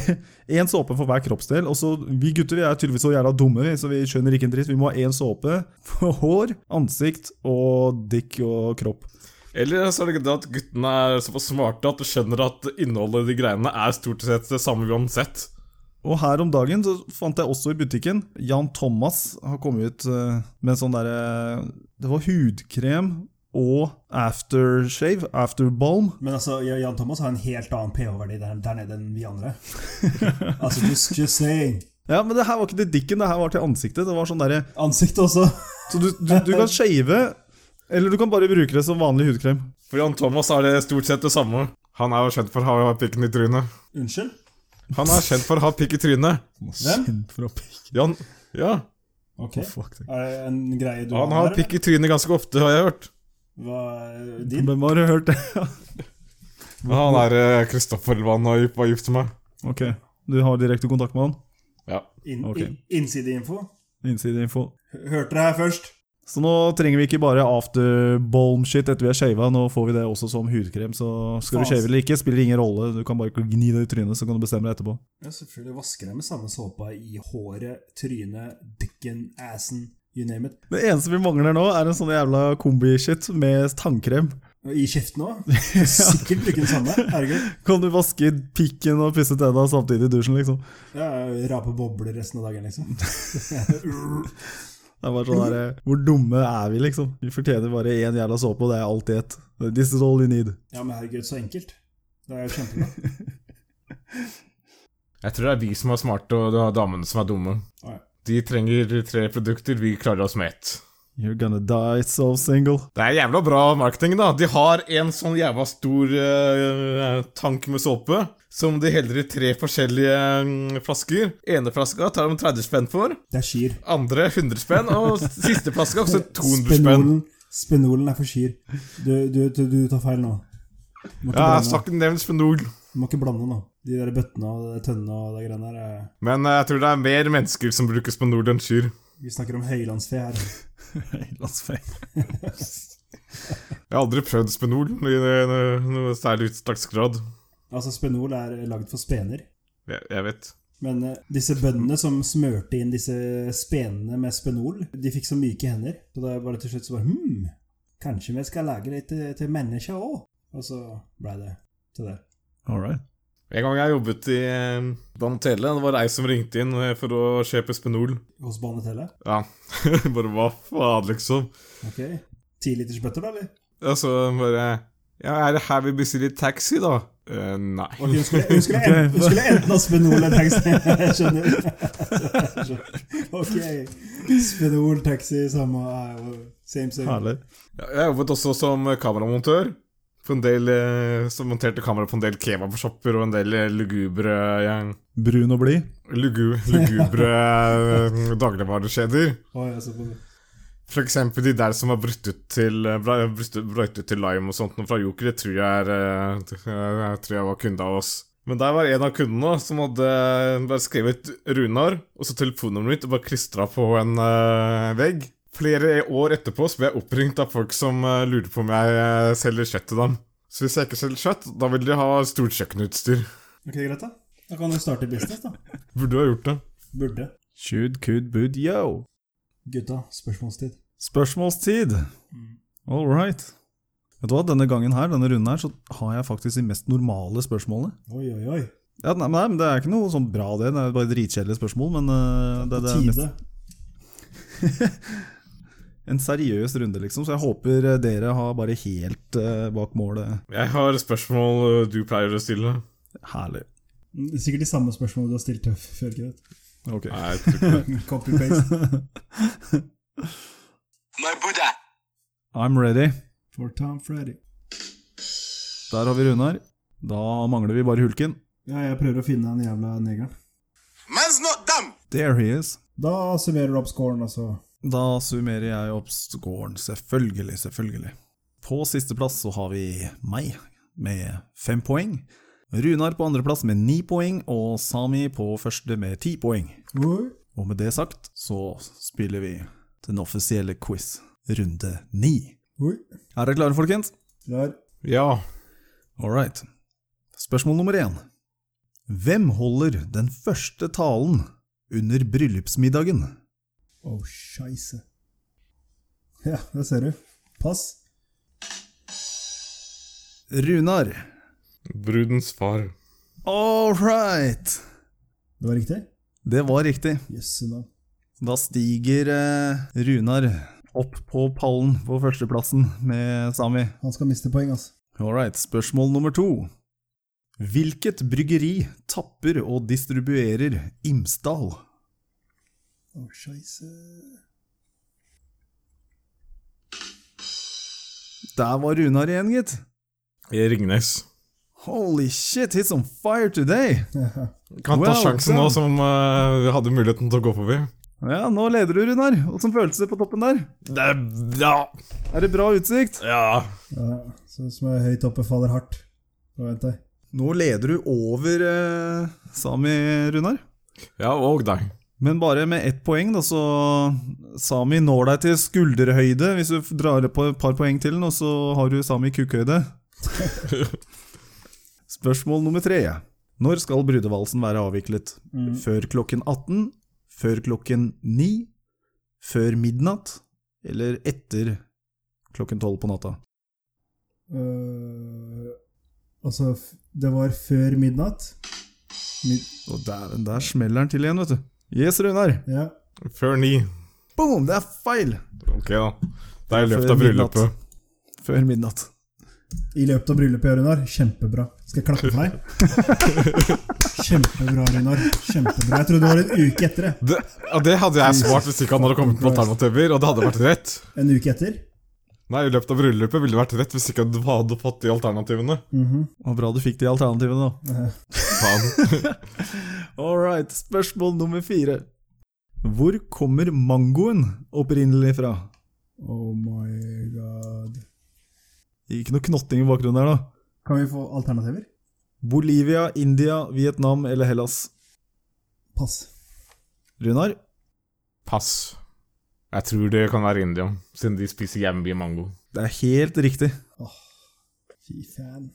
én såpe for hver kroppsdel. Og så, Vi gutter vi er tydeligvis så jævla dumme, vi, så vi skjønner ikke en dritt. Vi må ha én såpe for hår, ansikt og dick og kropp.
Eller så er det ikke det at guttene er såpass smarte at du skjønner at innholdet i de greiene er stort sett det samme uansett.
Og her om dagen så fant jeg også i butikken Jan Thomas har kommet ut eh, med en sånn derre Det var hudkrem og aftershave, afterbalm.
Men altså, ja, Jan Thomas har en helt annen pH-verdi der, der nede enn vi andre.
*laughs*
altså, just, just saying.
Ja, men det her var ikke til dicken, det her var til ansiktet. Det var sånn derre
Ansiktet også.
Så du, du, du kan shave, eller du kan bare bruke det som vanlig hudkrem.
For Jan Thomas er det stort sett det samme. Han er jo kjent for å ha pikken i trynet.
Unnskyld?
Han er kjent for å ha pikk i trynet.
Hvem?
Kjent for å pikke
Jan, ja,
Ok.
Fuck, det.
Er det en greie du
han har
eller?
pikk i trynet ganske ofte, har jeg hørt.
Hva, din?
Hvem har du hørt det? *laughs*
Han er eh, Kristoffer eller hva han har gift- var gift med.
ok, du har direkte kontakt med han?
Ja.
In,
Ok.
in, innsideinfo?
Innsideinfo.
Hø- Hørte det her først.
Så nå trenger vi ikke bare afterbalm-shit etter vi er shava, nå får vi det også som hudkrem. Så skal du
Faen.
shave eller ikke, spiller ingen rolle. Du kan bare gni det i trynet, så kan du bestemme deg etterpå.
Ja, selvfølgelig vasker jeg med samme såpa i håret, trynet, dicken, assen, you name it.
Det eneste vi mangler nå, er en sånn jævla kombi-shit med tannkrem.
Og I kjeften
*laughs*
òg. Sikkert bruke den samme. Herregud.
Kan du vaske pikken og pusse tenna samtidig i dusjen, liksom?
Ja, rape bobler resten av dagen, liksom.
*laughs*
Det er bare sånn der, Hvor dumme er vi, liksom? Vi fortjener bare én jævla såpe, og det er alltid ett. This is all you need.
Ja, men herregud, så enkelt. Det er jo kjempebra.
Jeg tror det er vi som er smarte, og det er damene som er dumme.
Å, ja.
De trenger tre produkter, vi klarer oss med ett.
You're gonna die so single. *laughs*
Det er jævla bra marketing, da. De har en sånn jævla stor eh, tank med såpe som de heller i tre forskjellige mm, flasker. Ene flaska tar de 30 spenn for,
Det er skir.
andre 100 spenn, og siste flaska koster 200 spenn.
Spenolen- Spenolen er for skir. Du, du, du, du tar feil nå. Du må ikke,
Ja, jeg har
blande,
sagt nevnt spenol,
du må ikke blande nå. De der bøttene og de tønnene og de greiene der. eh,
men eh, jeg tror det er mer mennesker som bruker spenol enn kyr.
Vi snakker om høylandsfe her.
Jeg har aldri prøvd spenol i eh, noe særlig utslagsgrad.
Altså, spenol er lagd for spener.
Jeg, jeg vet.
Men eh, disse bøndene som smørte inn disse spenene med spenol, de fikk så myke hender. Så da var det til slutt så bare Hm, kanskje vi skal lage det til, til mennesker òg? Og så blei det til det.
All right.
En gang jeg jobbet i eh, Banatele, det var ei som ringte inn eh, for å kjøpe spenol. *laughs*
Hos Banetelle.
Ja, bare hva faen, liksom.
Ok. Tilitersbøtter, da, eller?
Og så bare Ja, er det her vi bestiller taxi, da? Eh, nei.
Ok, Hun skulle, hun skulle, en, hun skulle enten ha spenol eller taxi. Jeg skjønner. Ok. Spenol, taxi, samme eh, Same, same.
Herlig.
Ja, Jeg jobbet også som kameramontør. På en del, eh, som monterte kamera på en del kebabshopper og en del eh, lugubre ja,
Brun og blid.
lugu, Lugubre eh, dagligvarekjeder.
Oi, altså, på-
For eksempel de der som er brutt ut til eh, bra- brutt ut- brøyt ut til lime og sånt noe fra Joker, det tror jeg, er, eh, t- eh, jeg tror jeg var kunde av oss. Men der var en av kundene som hadde eh, bare skrevet Runar og så telefonnummeret mitt og bare klistra på en eh, vegg. Flere år etterpå så ble jeg oppringt av folk som eh, lurer på om jeg eh, selger kjøtt til dem. Så hvis jeg ikke selger kjøtt, da vil de ha stort kjøkkenutstyr.
ok, greit, da. Da kan du starte business, da.
Burde ha gjort det.
Burde.
Should, could, would, yo.
Gutta, spørsmålstid.
Spørsmålstid. All right. Vet du hva, denne gangen her, denne runden her, så har jeg faktisk de mest normale spørsmålene.
Oi, oi, oi.
Ja, nei, men- nei, men Det er ikke noe sånn bra, det. Det er bare dritkjedelige spørsmål. Men eh, det, det er mest
Tide.
en seriøs runde, liksom. Så jeg håper eh, dere har bare helt eh, bak målet.
Jeg har spørsmål eh, du pleier å stille.
Herlig.
Det er Sikkert de samme spørsmålene du *laughs* har stilt til før, ikke sant?
Ok.
Nei, jeg tror ikke det.
Copy-paste.
I'm ready.
For Tom Freddy.
Der har vi Runar. Da mangler vi bare hulken.
Ja, jeg prøver å finne den jævla negeren.
There he is.
Da summerer du opp scoren, altså.
Da summerer jeg opp scoren. Selvfølgelig, selvfølgelig. På sisteplass så har vi meg med fem poeng. Runar på andreplass med ni poeng, og Sami på første med ti poeng.
Oi.
Og med det sagt så spiller vi den offisielle quiz, runde ni.
Oi.
Er dere klare, folkens?
Der.
*laughs* Ja.
All right. Spørsmål nummer én. Hvem holder den første talen under bryllupsmiddagen?
Oh, scheisse. Ja, det ser du. Pass.
Runar.
Brudens far.
All right!
Det var riktig?
Det var riktig.
Jøsse navn.
Da stiger eh, Runar opp på pallen på førsteplassen med Sami.
Han skal miste poeng, altså.
All right, spørsmål nummer to. Hvilket bryggeri tapper og distribuerer Imsdal?
Oh, scheisse. *laughs*
Der var Runar igjen, gitt.
Ringnes.
Holy shit, he's on fire today!
Ja.
Kan ta
Well
sjansen nå
done.
som eh, vi hadde muligheten til å gå forbi.
Ja, nå leder du, Runar. Åssen føles det på toppen der?
Det, ja.
Er det bra utsikt?
ja.
Ja, så som er høyt oppe, faller hardt. Nå venter jeg.
Nå leder du over eh, Sami, Runar.
Ja, og deg.
Men bare med ett poeng, da, så Sami når deg til skulderhøyde. Hvis du drar på et par poeng til nå, så har du Sami kukkhøyde. Spørsmål nummer tre. Når skal brudevalsen være avviklet? Før klokken 18? Før klokken 9? Før midnatt? Eller etter klokken 12 på natta?
Øh, altså, f- det var før midnatt. Mid
Og der, der smeller den til igjen, vet du. Yes, Runar.
ja.
Før ni.
Boom, det er feil!
Ok, da. Det er i løpet
Før
av
midnatt.
bryllupet.
Før midnatt.
I løpet av bryllupet, Runar. Kjempebra. Skal jeg klappe for deg? Kjempebra, Runar. Kjempebra. Jeg trodde det var en uke etter. jeg.
Det, ja, det hadde jeg svart hvis ikke han hadde kommet på
Christ.
alternativer, og det hadde vært rett.
En uke etter?
Nei, i løpet av bryllupet ville det vært rett hvis ikke du hadde fått de alternativene.
Mhm.
Og bra du fikk de alternativene, da.
Eh,
*laughs*
Faen.
All right, spørsmål nummer fire. Hvor kommer mangoen opprinnelig fra?
Oh my god.
Ikke noe knotting i bakgrunnen her, da.
Kan vi få alternativer?
Bolivia, India, Vietnam eller Hellas?
Pass.
Runar?
Pass. Jeg tror det kan være India, siden de spiser jævlig mye mango.
Det er helt riktig.
Fy fan.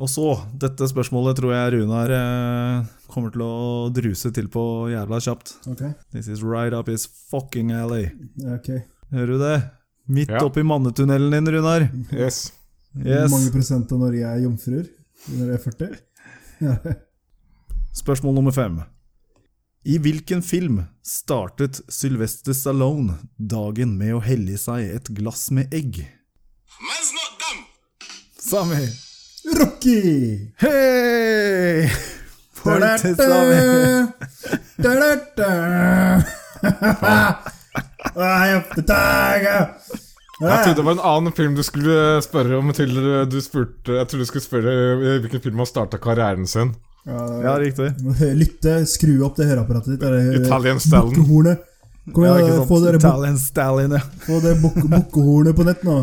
Og så, dette spørsmålet tror jeg Runar eh, kommer til å druse til på jævla kjapt.
Ok.
This is right up his fucking alley.
ok.
Hører du det? Midt
Ja.
oppi mannetunnelen din, Runar.
Yes.
Yes.
Hvor mange prosent av Norge er jomfruer? Når jeg er 40? Ja.
Spørsmål nummer fem. I hvilken film startet Sylvester Stallone dagen med å helle i seg et glass med egg?
Man's not dumb.
Sami!
Rocky!
Hei! Poeng til Sami.
Da-da-da! Da-da-da! *laughs* Ah, I have the tiger!
Jeg trodde det var en annen film du skulle spørre om til du spurte Jeg trodde du skulle spørre eh, hvilken film han starta karrieren sin.
Ja, riktig.
Du må hø- *laughs* Lytte, skru opp det høreapparatet ditt. er det-
Italian Stallion.
Bukkehornet. Kom
Ja,
igjen,
ikke
da,
sant.
få dere buk-
Italian Stallion, ja.
få det buk- *laughs* bukkehornet på nett nå.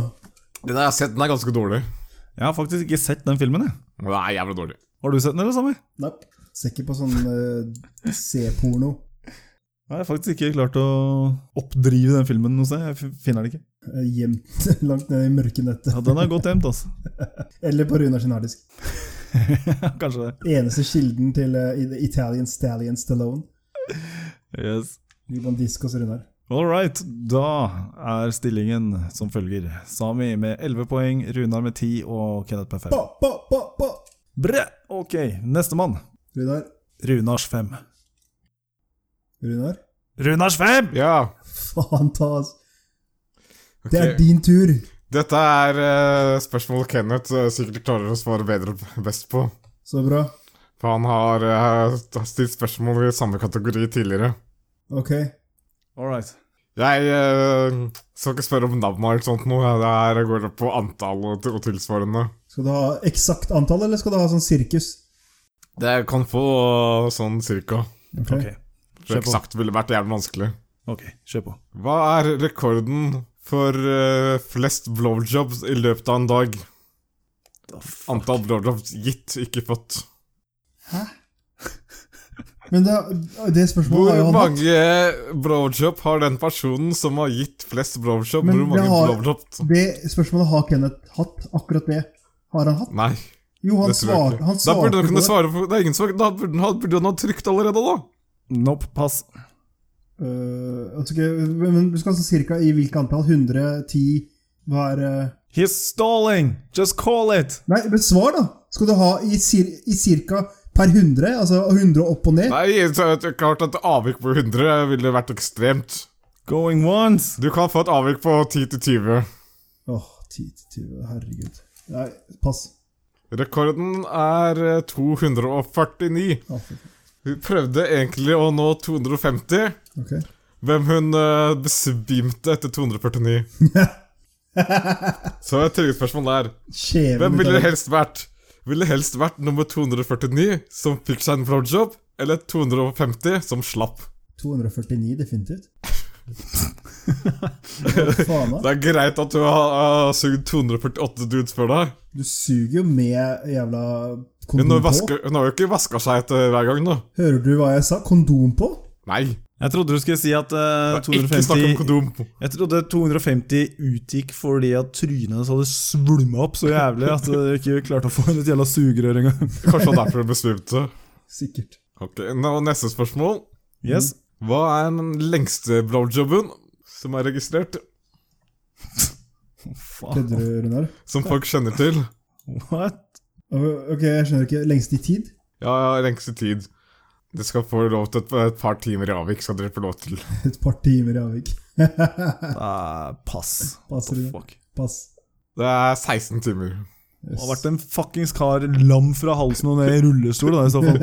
Den har jeg sett, den er ganske dårlig.
Jeg har faktisk ikke sett den filmen, jeg.
Den er jævlig dårlig.
Har du sett den, eller, Sami?
Nei. Ser ikke på sånn eh, C-porno.
Jeg har faktisk ikke klart å oppdrive den filmen noe sted. Jeg f- finner den ikke.
Eh, Gjemt *laughs* langt ned i mørke nettet.
Ja, Den er godt gjemt, altså. *laughs*
Eller på Runar sin harddisk.
Kanskje det.
Eneste kilden til eh, i- The Italian Stallion Stallone.
Yes.
Ligger på en disk hos Runar.
All right, da er stillingen som følger. Sami med 11 poeng, Runar med 10 og Kenneth med 5.
Ba, ba, ba, ba.
Bre! Ok, nestemann.
Runar.
Runars 5.
Runar. *laughs*
Runars 5!
Ja,
Faen ta, altså.
ok.
Det er din tur.
Dette er eh, spørsmål Kenneth eh, sikkert klarer å svare bedre best på.
Så bra.
For han har eh, stilt spørsmål i samme kategori tidligere.
Ok.
All right.
Jeg eh, skal ikke spørre om navnet eller sånt noe. Det her går på antall og, og tilsvarende.
Skal du ha eksakt antall, eller skal du ha sånn sirkus?
Det kan få sånn cirka.
Ok.
Ok,
For
Kjør på.
eksakt ville vært jævlig vanskelig.
ok, kjør på.
Hva er rekorden for eh, flest blowjobs i løpet av en dag? Antall blowjobs gitt, ikke fått.
Men det, det spørsmålet
Hvor
har jo han hatt.
mange blowjob har den personen som har gitt flest blowjob?
Men
Hvor mange
jeg har-
blowjobs?
Det spørsmålet har Kenneth hatt. Akkurat det har han hatt.
Nei,
Jo, han
det tror jeg
svarte
ikke.
han
Da burde
svarte
han
på
kunne
det.
svare på det. Er ingen som, da burde han, burde han ha trykt allerede, da.
Nope, pass.
Øh, altså, ikke- men men du skal altså cirka i hvilke antall? 110 hver øh,
He's stalling! Just call it!
Nei, men svar, da! Skal du ha i, cir i cirka per 100? Altså 100 opp og ned?
Nei, så er det klart at avvik på 100 ville vært ekstremt.
Going once!
Du kan få et avvik på 10 til 20.
Åh, 10-20, herregud. Nei, pass.
Rekorden er eh, 249.
Å, fy faen.
Hun prøvde egentlig å nå 250,
Ok.
hvem hun eh, besvimte etter 249. Så et tryggespørsmål er
Skjeve
Hvem ville
gutter.
helst vært? Ville helst vært nummer 249, som fikk seg en blowjob, eller 250, som slapp?
249,
*laughs*
definitivt. Hva faen, da?
Det er greit at du har eh, sugd 248 dudes før deg,
Du suger jo med jævla
men
kondom
hun,
på.
vasker, hun har jo ikke vaska seg etter hver gang, da.
Hører du hva jeg sa? Kondom på?
Nei.
Jeg trodde du skulle si at eh,
Ikke snakk om
250
kondom!
Jeg trodde 250 utgikk fordi at trynet hans hadde svulma opp så jævlig at du ikke klarte å få inn et jævla sugerør engang.
Kanskje det er derfor hun besvimte.
Sikkert.
Ok, nå, Neste spørsmål.
Yes.
Hva er den lengste blowjobben som er registrert?
Faen.
Kødder
Ah,
du, Runar?
Som folk kjenner til?
What?
Ok, jeg skjønner ikke. Lengst i tid? *laughs*
Ja, ja, lengste tid. Det skal få lov til et, et par timer i avvik. skal dere få lov til.
Et par timer i avvik. *laughs*
Nei, pass. What
Passer
the
det?
fuck?
Pass.
Det er 16 timer.
Det har vært en fuckings kar lam fra halsen og ned i rullestol, da, i
*laughs*
så *laughs* fall.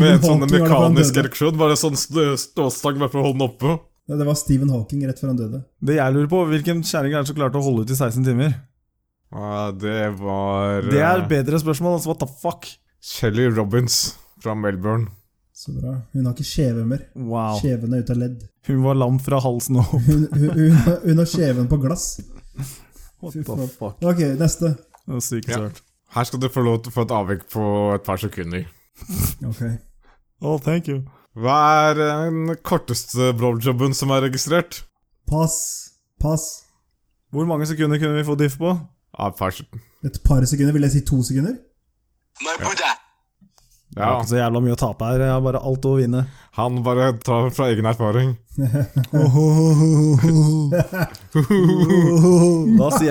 *laughs*
med en sånn mekanisk
døde.
ereksjon. Bare sånn stå- ståstang bare for å holde den oppe.
Ja, Det var Stephen Hawking rett før han døde.
Det jeg lurer på, hvilken kjerring er det som klarte å holde ut i 16 timer?
Ja, det var
Det er
eh,
bedre spørsmål, altså. What the fuck?
Shelly Robbins fra Melbourne.
Så bra. Hun har ikke skjeve mer.
Wow.
Skjeven er ute av ledd.
Hun var lam fra halsen og opp.
Hun, hun, hun, har- hun har skjeven på glass.
What
Fy
the
faen.
fuck?
Ok, neste.
Det var sykt
Ja.
sørt.
Her skal dere få lov til å få et avvik på et par sekunder.
Ok.
Oh, thank you.
Hva er eh, den korteste blowjobben som er registrert?
Pass. Pass.
Hvor mange sekunder kunne vi få diff på?
Ja, et par sek-
Et par sekunder. Vil jeg si to sekunder?
My Buddha.
Jeg har
Ja,
ikke så jævla mye å tape her. Jeg har bare alt å *laughs* vinne.
han bare tar fra egen erfaring.
Da sier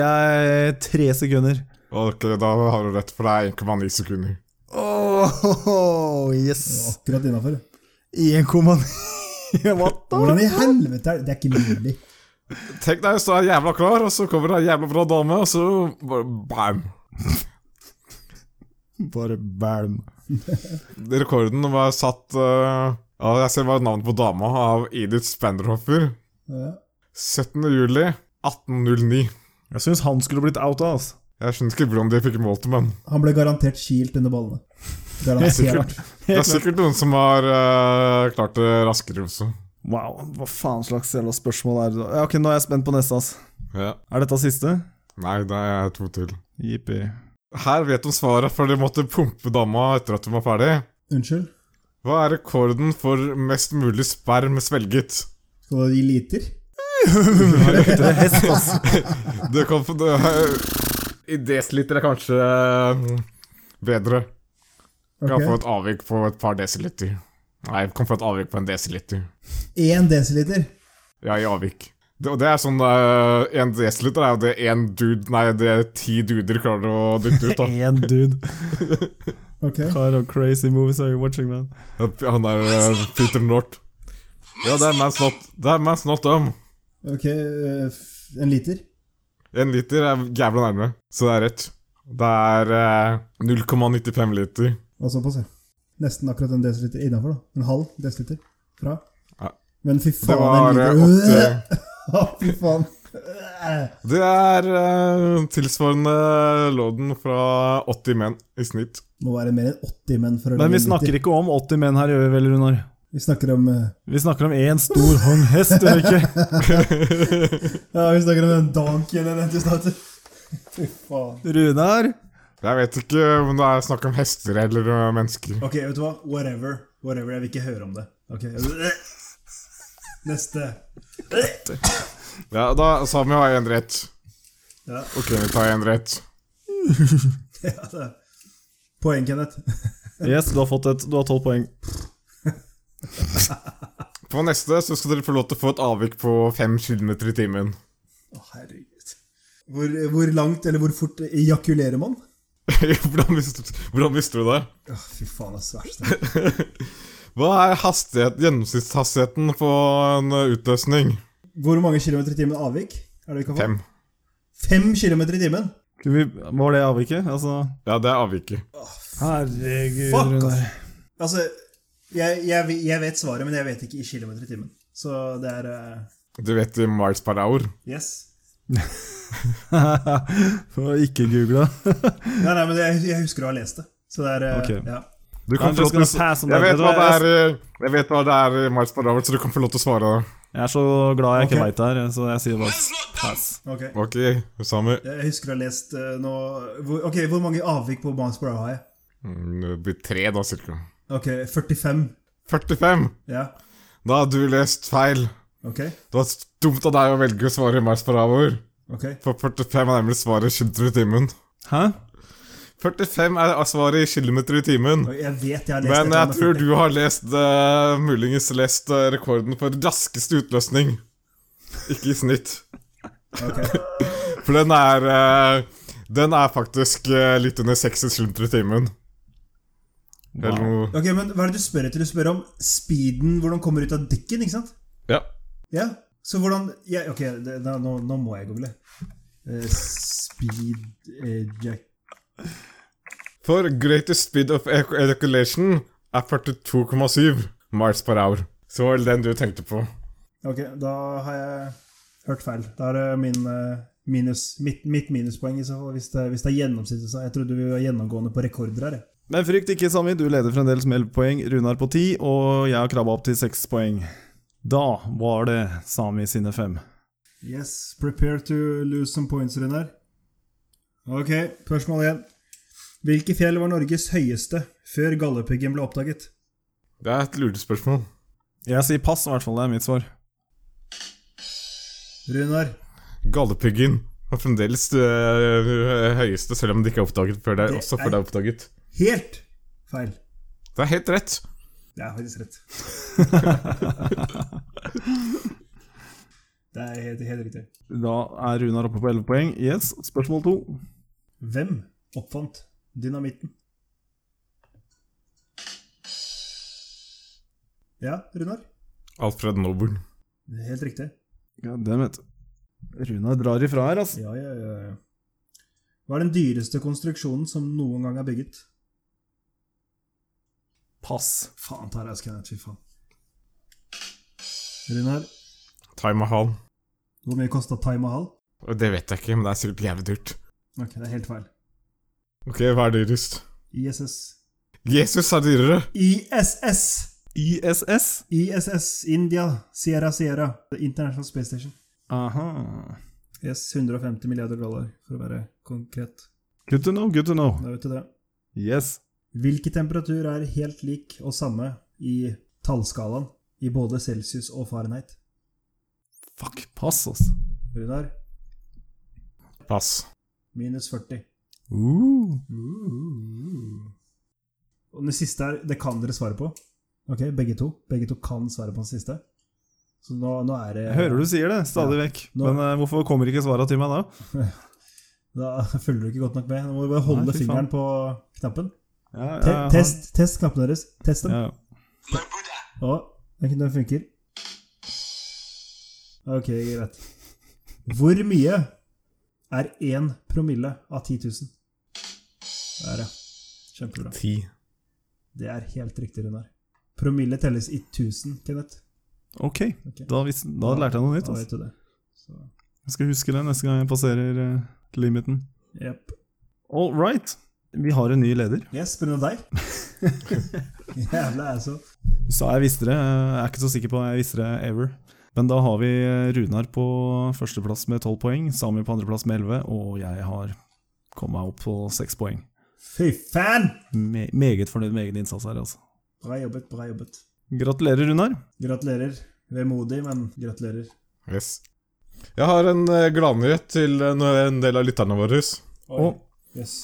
jeg tre sekunder.
Ok, da har du rett, for det er 1,9 sekunder.
Oh,
Det
yes!
var Akkurat innafor.
*laughs* 1,9 What the?
Hvordan i helvete er det? Det er ikke mulig.
Tenk deg, så er jeg jævla klar, og så kommer det ei jævla bra dame, og så bare bam!
Bare bælm.
Rekorden var satt eh, ja, Jeg ser bare navnet på dama, av Edith Spanderhoffer.
Ja.
17. juli 1809.
Jeg syns han skulle blitt outa, altså.
Jeg skjønner ikke hvordan de fikk målt det, men
Han ble garantert kilt under ballene. Garantert.
sikkert. det er sikkert noen som har eh, klart det raskere også.
Wow, hva faen slags jævla spørsmål er det? da? Ja, Ok, nå er jeg spent på neste, ass.
Ja.
Er dette siste?
Nei, det er to til.
Jippi.
Her vet de svaret, for de måtte pumpe dama etter at hun var ferdig.
Unnskyld?
Hva er rekorden for mest mulig sperm svelget?
Skal du gi liter?
Lukter det *laughs* hest, ass.
Det kan få det, I desiliter er kanskje eh, bedre. Kan
Ok.
få et avvik på et par desiliter. Nei, kan få et avvik på en desiliter.
Én desiliter.
Ja, i avvik. Det, og det er sånn uh, En desiliter er jo det én dude Nei, det er ti duder klarer å dytte ut, da.
Én dude.
Ok.
Kind of crazy movies are you watching, man?
Han er eh, Peter North. Ja, det er man's not, det er man's not dumb.
Ok, eh, f- en liter.
En liter er jævla nærme, så det er rett. Det er eh, 0,95 liter.
Og såpass, ja. Nesten akkurat en desiliter innafor, da. En halv desiliter fra.
Ja.
Men fy
Det
faen,
var
en
eh,
liter *laughs*
åtte
Øh, Fy faen.
*laughs*
*laughs*
Det er eh, tilsvarende lodden fra 80 menn i snitt.
Må være mer enn 80 menn for å
Men vi snakker ikke om 80 menn her, gjør vi vel, Runar?
Vi snakker om eh,
Vi snakker om én stor hong hest, gjør vi *laughs* ikke?
Ja, vi snakker om en donkey eller en stater. *laughs* Fy faen.
Runar?
Jeg vet ikke om det er snakk om hester eller eh, mennesker.
Ok, vet du hva? Whatever. Whatever, Jeg vil ikke høre om det. Ok. *laughs* Neste.
Ja, da Sami har én rett.
Ja.
Ok, vi tar én rett.
*laughs* Ja, det er- Poeng, Kenneth. *laughs*
Yes, du har fått et. Du har tolv poeng.
På neste så skal dere få lov til å få et avvik på 5 km i timen. *laughs*
Å, herregud. Hvor, hvor langt eller hvor fort ejakulerer man?
hvordan, visste, hvordan visste du det?
Å, fy faen, det er svært.
Hva er hastighet, gjennomsnittshastigheten på en eh, utløsning?
Hvor mange kilometer i timen avvik? Er det vi kan få?
Fem.
Fem kilometer i timen?
Skal vi, var det avviket? Altså
Ja, det er avviket.
Herregud,
Fuck,
Runar.
ass. Altså, jeg, jeg, vi- jeg vet svaret, men jeg vet ikke i kilometer i timen. Så det er eh,
Du vet i miles per hour.
Yes.
*laughs* For å ikke google.
Nei, nei, men jeg, jeg husker å ha lest det. Så det er eh,
Ok.
ja.
Du
I'm just gonna pass on
jeg,
that. Vet
vet
du
hva det
hva,
er, eh, jeg vet hva det er i Miles Paravel, så du kan få lov til å svare.
Jeg er så glad jeg ikke
Ok.
veit det her, så jeg sier bare
Man's not dumb.
pass.
Ok.
Ok, Sami.
Jeg husker å ha lest eh, nå hvor, Ok, hvor mange avvik på Bounce Brow har jeg?
Mm, Det blir tre, da, cirka.
Ok, 45.
45!
Ja,
Da har du lest feil.
ok.
Det var dumt av deg å velge å svare mars per hour.
ok.
For 45 er nemlig svaret kilometer i timen.
Hæ?
45 er svaret i kilometer i timen.
Og Jeg vet jeg har lest
Men
et eller
jeg
annet
tror
før.
du har lest eh, muligens lest eh, rekorden for raskeste utløsning. Ikke i snitt.
Ok.
*laughs* For den er eh, Den er faktisk eh, litt under 60 km i timen. Eller
Wow.
noe
ok, men hva er det du spør etter? Du spør om speeden, hvordan kommer ut av dikken, ikke sant?
Ja.
Ja, så hvordan ja, Ok, det, da, nå, nå må jeg google. Eh, speed eh, jack...
For greatest speed of ec- ejaculation er 42,7 miles per hour. Så var det den du tenkte på.
Ok, da har jeg hørt feil. Da er det min eh, minus, mitt, mitt minuspoeng, i så fall, hvis det, hvis det er gjennomsnittet. så Jeg trodde vi var gjennomgående på rekorder her. jeg.
Men frykt ikke, Sami. Du leder fremdeles med 11 poeng. Runar på 10, og jeg har krabba opp til 6 poeng. Da var det Sami sine fem.
Yes, prepare to lose some points, Runar.
Ok, spørsmål igjen. Hvilke fjell var Norges høyeste før Galdhøpiggen ble oppdaget?
Det er et lurespørsmål.
Jeg sier pass, i hvert fall. Det er mitt svar.
Runar,
Galdhøpiggen har fremdeles det høyeste, selv om det ikke er oppdaget før det er
Det
også
er-
før det er oppdaget.
helt feil.
Det er helt rett.
Det er faktisk rett. det er helt, helt riktig.
Da er Runar oppe på 11 poeng. Yes, spørsmål 2.
Hvem oppfant dynamitten? Ja, Runar?
Alfred Nobel.
Det er helt riktig.
Ja, den vet du. Runar drar ifra her, altså.
Ja, ja, ja. ja. Hva er den dyreste konstruksjonen som noen gang er bygget?
Pass.
Faen, Tarjei Skannet, fy faen. Runar,
Taj Mahal.
hvor mye kosta Thai Mahal?
Og Det vet jeg ikke, men det er sikkert jævlig dyrt.
Ok, det er helt feil.
Ok, hva er dyrest?
ISS.
Jesus er dyrere.
ISS!
ISS.
ISS, India, Sierra Sierra, The International Space Station.
Aha.
Yes, 150 milliarder dollar, for å være konkret.
Good to know, good to know.
Da vet du det.
Yes.
Hvilken temperatur er helt lik og samme i tallskalaen i både celsius og fahrenheit?
Fuck, pass, altså.
Runar,
Pass.
minus 40.
Uh.
Mm. Og den siste her, det kan dere svare på. Ok, begge to. Begge to kan svare på den siste. Så nå, nå er det
Jeg hører du sier det, stadig vekk.
Nå-
Men eh, hvorfor kommer ikke svara til meg da?
Da *laughs* følger du ikke godt nok med. Nå må du bare holde
Nei, fy
fingeren på knappen.
Ja, ja,
Te
ja.
test test knappen deres. Test den.
Ja.
My brother.
Å, den, den funker. Ok, greit. Hvor mye er 1 promille av 10 000? Der, ja. Kjempebra.
Ti.
Det er helt riktig, Runar. Promille telles i 1000, Kenneth.
Ok,
Ok.
da, vis, da lærte jeg noe nytt.
Da
Altså.
vet du det. Så,
Jeg skal huske det neste gang jeg passerer eh, limiten.
jep.
All right. Vi har en ny leder.
Yes, pga. deg. *laughs* Jævla altså.
Sa jeg visste det. eh, Jeg er ikke så sikker på at jeg visste det ever. Men da har vi eh, Runar på førsteplass med tolv poeng, Sami på andreplass med elleve, og jeg har kommet meg opp på seks poeng.
Fy fan!
Me meget fornøyd med egen innsats her, altså.
Bra jobbet, bra jobbet.
Gratulerer, Runar.
Gratulerer. Vemodig, men gratulerer.
Yes. Jeg har en eh, gladnyhet til eh, en del av lytterne våre.
Oi.
Å.
Yes.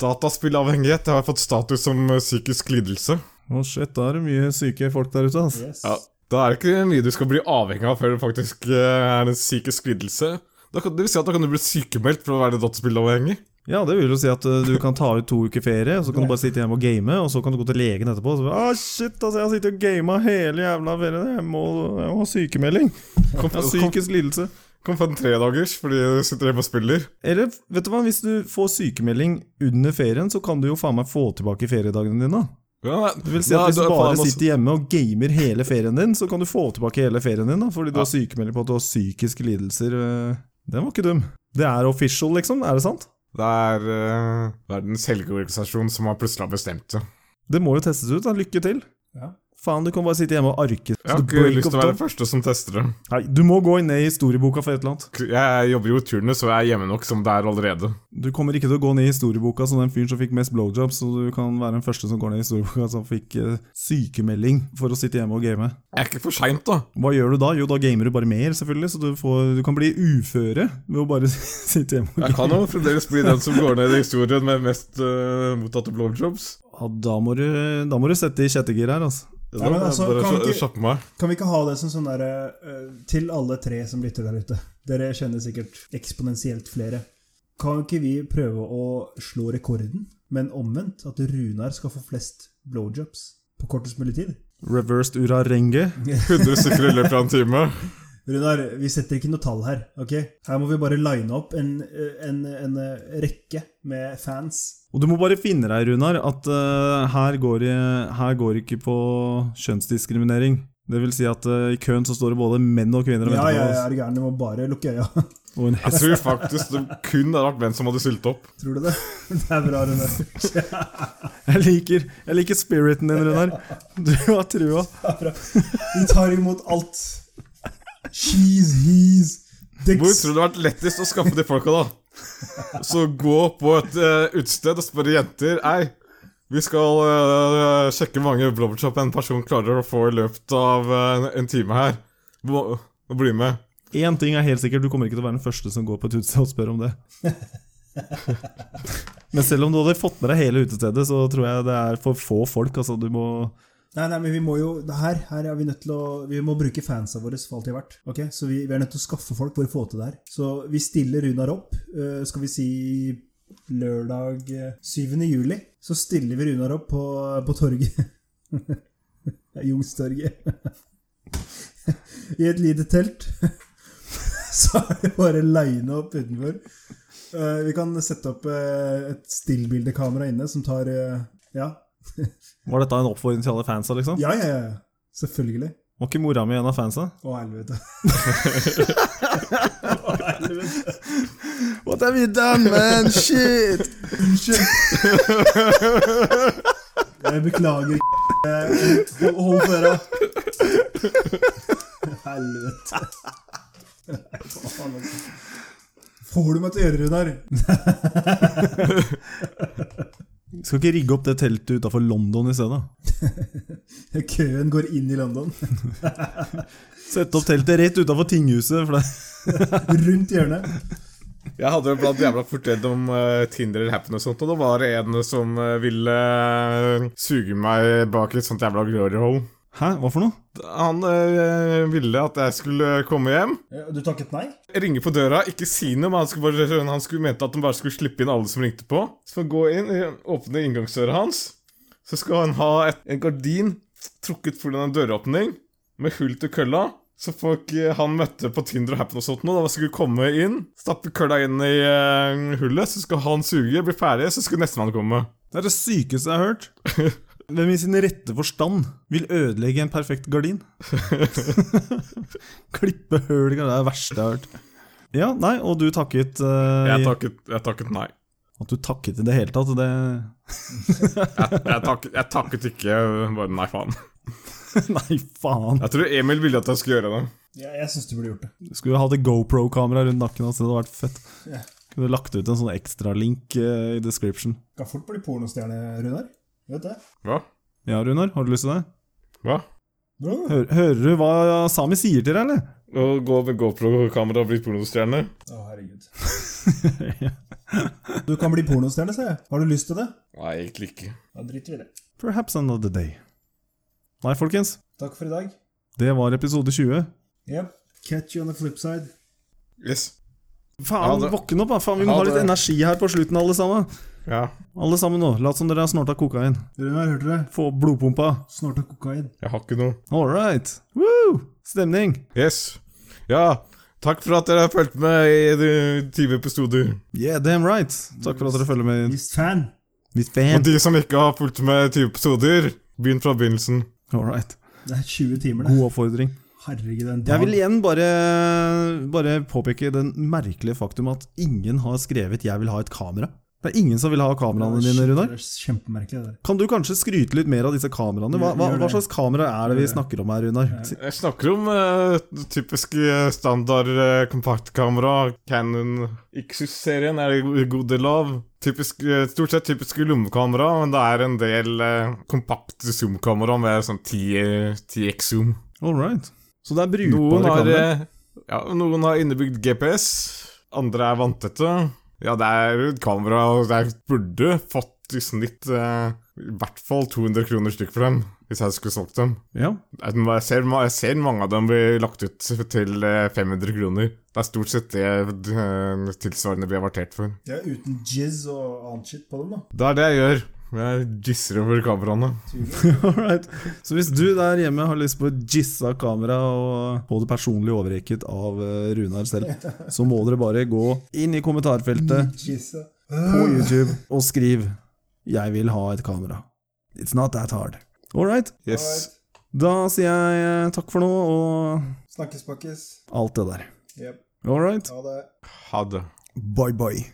Dataspillavhengighet har fått status som eh, psykisk lidelse.
Å, shit, da er det mye syke folk der ute, altså.
yes.
Ja. Da er det ikke mye du skal bli avhengig av før det faktisk eh, er en psykisk lidelse. Da kan, det vil si at da kan du bli sykemeldt for å være dataspillavhengig.
Ja, det vil jo si at eh, du kan ta ut to uker ferie, og så kan du bare sitte hjemme og game, og så kan du gå til legen etterpå og så bare, ah, shit, altså, jeg har sittet og gama hele jævla ferien, jeg må, jeg må ha sykemelding.
Kom,
Jeg har
kom,
psykisk lidelse.
kom på en tredagers fordi du sitter hjemme og spiller.
Eller, vet du hva, hvis du får sykemelding under ferien, så kan du jo faen meg få tilbake feriedagene dine.
Ja,
Det vil si at
nei,
hvis
du
du
er
bare
faen også-
sitter hjemme og gamer hele ferien din, så kan du få tilbake hele ferien din, da, fordi du
Ja.
har sykemelding på at du har psykiske lidelser. eh, Den var ikke dum. Det er official, liksom. Er det sant?
Det er uh, verdens helgeorganisasjon som har plutselig har bestemt det.
Det må jo testes ut, da. Lykke til.
Ja.
Faen, du kan bare sitte hjemme og arke.
Jeg har
Så du
ikke
break
lyst
up
til å være
top.
den første som tester det.
Nei, du må gå ned i historieboka for et eller annet.
Jeg jobber jo i turnus, og jeg er hjemme nok som det er allerede.
Du kommer ikke til å gå ned i historieboka som den fyren som fikk mest blowjobs, så du kan være den første som går ned i historieboka som fikk eh, sykemelding for å sitte hjemme og game.
Jeg er ikke for seint, da.
Hva gjør du da? Jo, da gamer du bare mer, selvfølgelig, så du, får, du kan bli uføre ved å bare *laughs* sitte hjemme og
Jeg *laughs* kan jo fremdeles bli den som går ned i historien med mest eh, mottatte blowjobs.
Ja, da må du, da må du sette i sjette gir her, altså.
Det
Ja, men
må jeg
altså,
bare
kan
kja-
ikke-
kjappe meg.
Kan vi ikke ha det som sånn derre eh, Til alle tre som lytter der ute. Dere kjenner sikkert eksponentielt flere. Kan ikke vi prøve å slå rekorden, men omvendt? At Runar skal få flest blowjobs på kortest mulig tid?
Reversed Ura Renge.
100 stykker i løpet av en time.
Runar, vi setter ikke noe tall her. ok? Her må vi bare line opp en, eh, en, en eh, rekke med fans.
Og du må bare finne deg, Runar, at eh, her, går det, her går det ikke på kjønnsdiskriminering. Det vil si at eh, i køen så står det både menn og kvinner og
Ja,
venter
ja, ja,
på
er du gæren? Du må bare lukke øya. *laughs*
oss. Og en
Jeg
hest.
tror faktisk det kun hadde vært menn som hadde stilt opp.
Tror du det? *laughs* Det er bra, Runar.
Jeg liker, jeg liker spiriten din, *laughs* Runar. Du har trua.
Vi tar imot alt. Cheese, hees,
Hvor
dicks
tror du det hadde vært lettest å skaffe de folka, da? Så gå på et eh, utested og spørre jenter Ei, vi skal eh, sjekke hvor mange blowjob en person klarer å få i løpet av eh, en time her. Må, må bli med.
Én ting er helt sikkert, du kommer ikke til å være den første som går på et utested og spør om *laughs* det. Men selv om du hadde fått med deg hele utestedet, så tror jeg det er for få folk. Altså, du må
Nei, nei, men vi må jo det Her, her er vi nødt til å Vi må bruke fansa våre for alt de er verdt. Ok, Så vi, vi er nødt til å skaffe folk for å få til det her. Så vi stiller Runar opp. eh, skal vi si lørdag eh, 7. juli? Så stiller vi Runar opp på, på torget. *laughs* Jungstorget. *laughs* I et lite telt. *laughs* Så er det bare line opp utenfor. Eh, vi kan sette opp eh, et stillbildekamera inne som tar eh, Ja,
Var dette en oppfordring til alle fansa, liksom?
ja, ja, ja. ja. Selvfølgelig.
Var ikke mora mi en av fansa?
Å, helvete.
What have you done, *laughs* man? Shit!
*laughs* Jeg beklager. Hold- Hold på øra. Helvete. Nei, faen, altså. Får du meg til å gjøre, Runar?
Skal ikke rigge opp det teltet utafor London i stedet?
Køen går inn i London.
Sette opp teltet rett utafor tinghuset. For det.
Rundt hjørnet.
Jeg hadde blant jævla fort redd om eh, Tinder eller Happen og sånt, og da var det en som eh, ville eh, suge meg bak et sånt jævla glory hole.
Hæ, hva for noe?
Han eh, ville at jeg skulle eh, komme hjem,
Ja, Du takket nei?
ringe på døra, ikke si noe, men han skulle bare han skulle mente at han bare skulle slippe inn alle som ringte på. Så han gå inn, eh, åpne inngangsdøra hans, så skal han ha et, en gardin trukket foran en døråpning, med hull til kølla, så folk eh, han møtte på Tinder og Happen og sånt nå, da skulle komme inn, stappe kølla inn i eh, hullet, så skal han suge, bli ferdig, så skulle nestemann komme.
Det er det sykeste jeg har *laughs* hørt. Hvem i sin rette forstand vil ødelegge en perfekt gardin? *laughs* Klippe høl i gardinen, det er det verste jeg har hørt. Ja, nei, og du takket eh,
Jeg takket, jeg takket nei.
At du takket i det hele tatt, det *laughs*
Jeg, jeg, takket, jeg takket ikke, bare nei faen.
Nei, faen.
Jeg tror Emil ville at jeg skulle gjøre det.
Ja, jeg syns du burde gjort det.
Skulle hatt et GoPro-kamera rundt nakken hans, det hadde vært fett. Kunne lagt ut en sånn ekstralink uh, i description.
Kan fort bli pornostjerne, Runar. Vet det.
Hva?
Ja, Runar, har du lyst til det?
Hva?
Bra.
Hør, hører du hva Sami sier til deg, eller? *laughs*
Å gå med GoPro-kamera og bli pornostjerne?
Å, herregud. Du kan bli pornostjerne, sa jeg. Har du lyst til det?
Nei, egentlig ikke.
Da driter vi i det.
Perhaps another day. Nei, folkens.
Takk for i dag.
Det var episode 20.
Yep. Catch you on the flip side.
Yes.
Faen,
Ja, det-
våkne opp, da! Faen, vi må
Ja,
ha litt
det-
energi her på slutten, alle sammen.
Ja.
Alle sammen nå. Lat som dere har snorta kokain.
Runar, hørte dere?
Få opp blodpumpa.
Snart har kokain.
Jeg har ikke noe.
All right. Woo! Stemning.
Yes. Ja. Takk for at dere har fulgt med i de 20 episoder.
Yeah, damn right. Takk for at dere følger med.
Visst fan.
Mitt
Og
fan.
de som ikke har fulgt med i 20 episoder, begynn fra begynnelsen.
All right.
Det er 20 timer, det.
God oppfordring.
Herregud,
Jeg
den dagen.
vil igjen bare, bare påpeke den merkelige faktum at ingen har skrevet 'jeg vil ha et kamera'. Det er ingen som vil ha kameraene dine, Runar.
Det er kjempemerkelig, det der.
Kan du kanskje skryte litt mer av disse kameraene? Hva, hva,
Gjør det.
hva slags kamera er det vi snakker om her, Runar?
Jeg snakker om eh, typisk eh, standard eh, kompaktkamera. Canon Ixus-serien er det en god del av. Typisk, eh, stort sett typiske lommekamera, men det er en del eh, kompakte zoom-kamera med sånn 10, 10x-zoom.
All right. Så det er brukbare
Noen har,
kameraer?
eh, ja, noen har innebygd GPS, andre er vanntette. Ja, det er jo et kamera, og jeg burde fått i snitt eh, i hvert fall 200 kroner stykk for dem, hvis jeg skulle solgt dem.
Ja. *laughs*
Jeg må- jeg ser, ma- jeg ser mange av dem blir lagt ut til eh, 500 kroner. Det er stort sett det eh, tilsvarende blir avertert for.
Det er uten jizz og annet shit på dem, da.
Det er det jeg gjør. Jeg jizzer over kameraene.
*laughs*
All right. Så hvis du der hjemme har lyst på et jizza kamera og få det personlig overrekket av eh, Runar selv, så må dere bare gå inn i kommentarfeltet
Jizz, ja.
på YouTube og skriv 'Jeg vil ha et kamera'. It's not that hard. All right.
Yes.
Da sier jeg eh, takk for nå og
Snakkes, pakkes.
alt det der.
Jep.
All right.
Ha det.
Ha det.
Bye bye.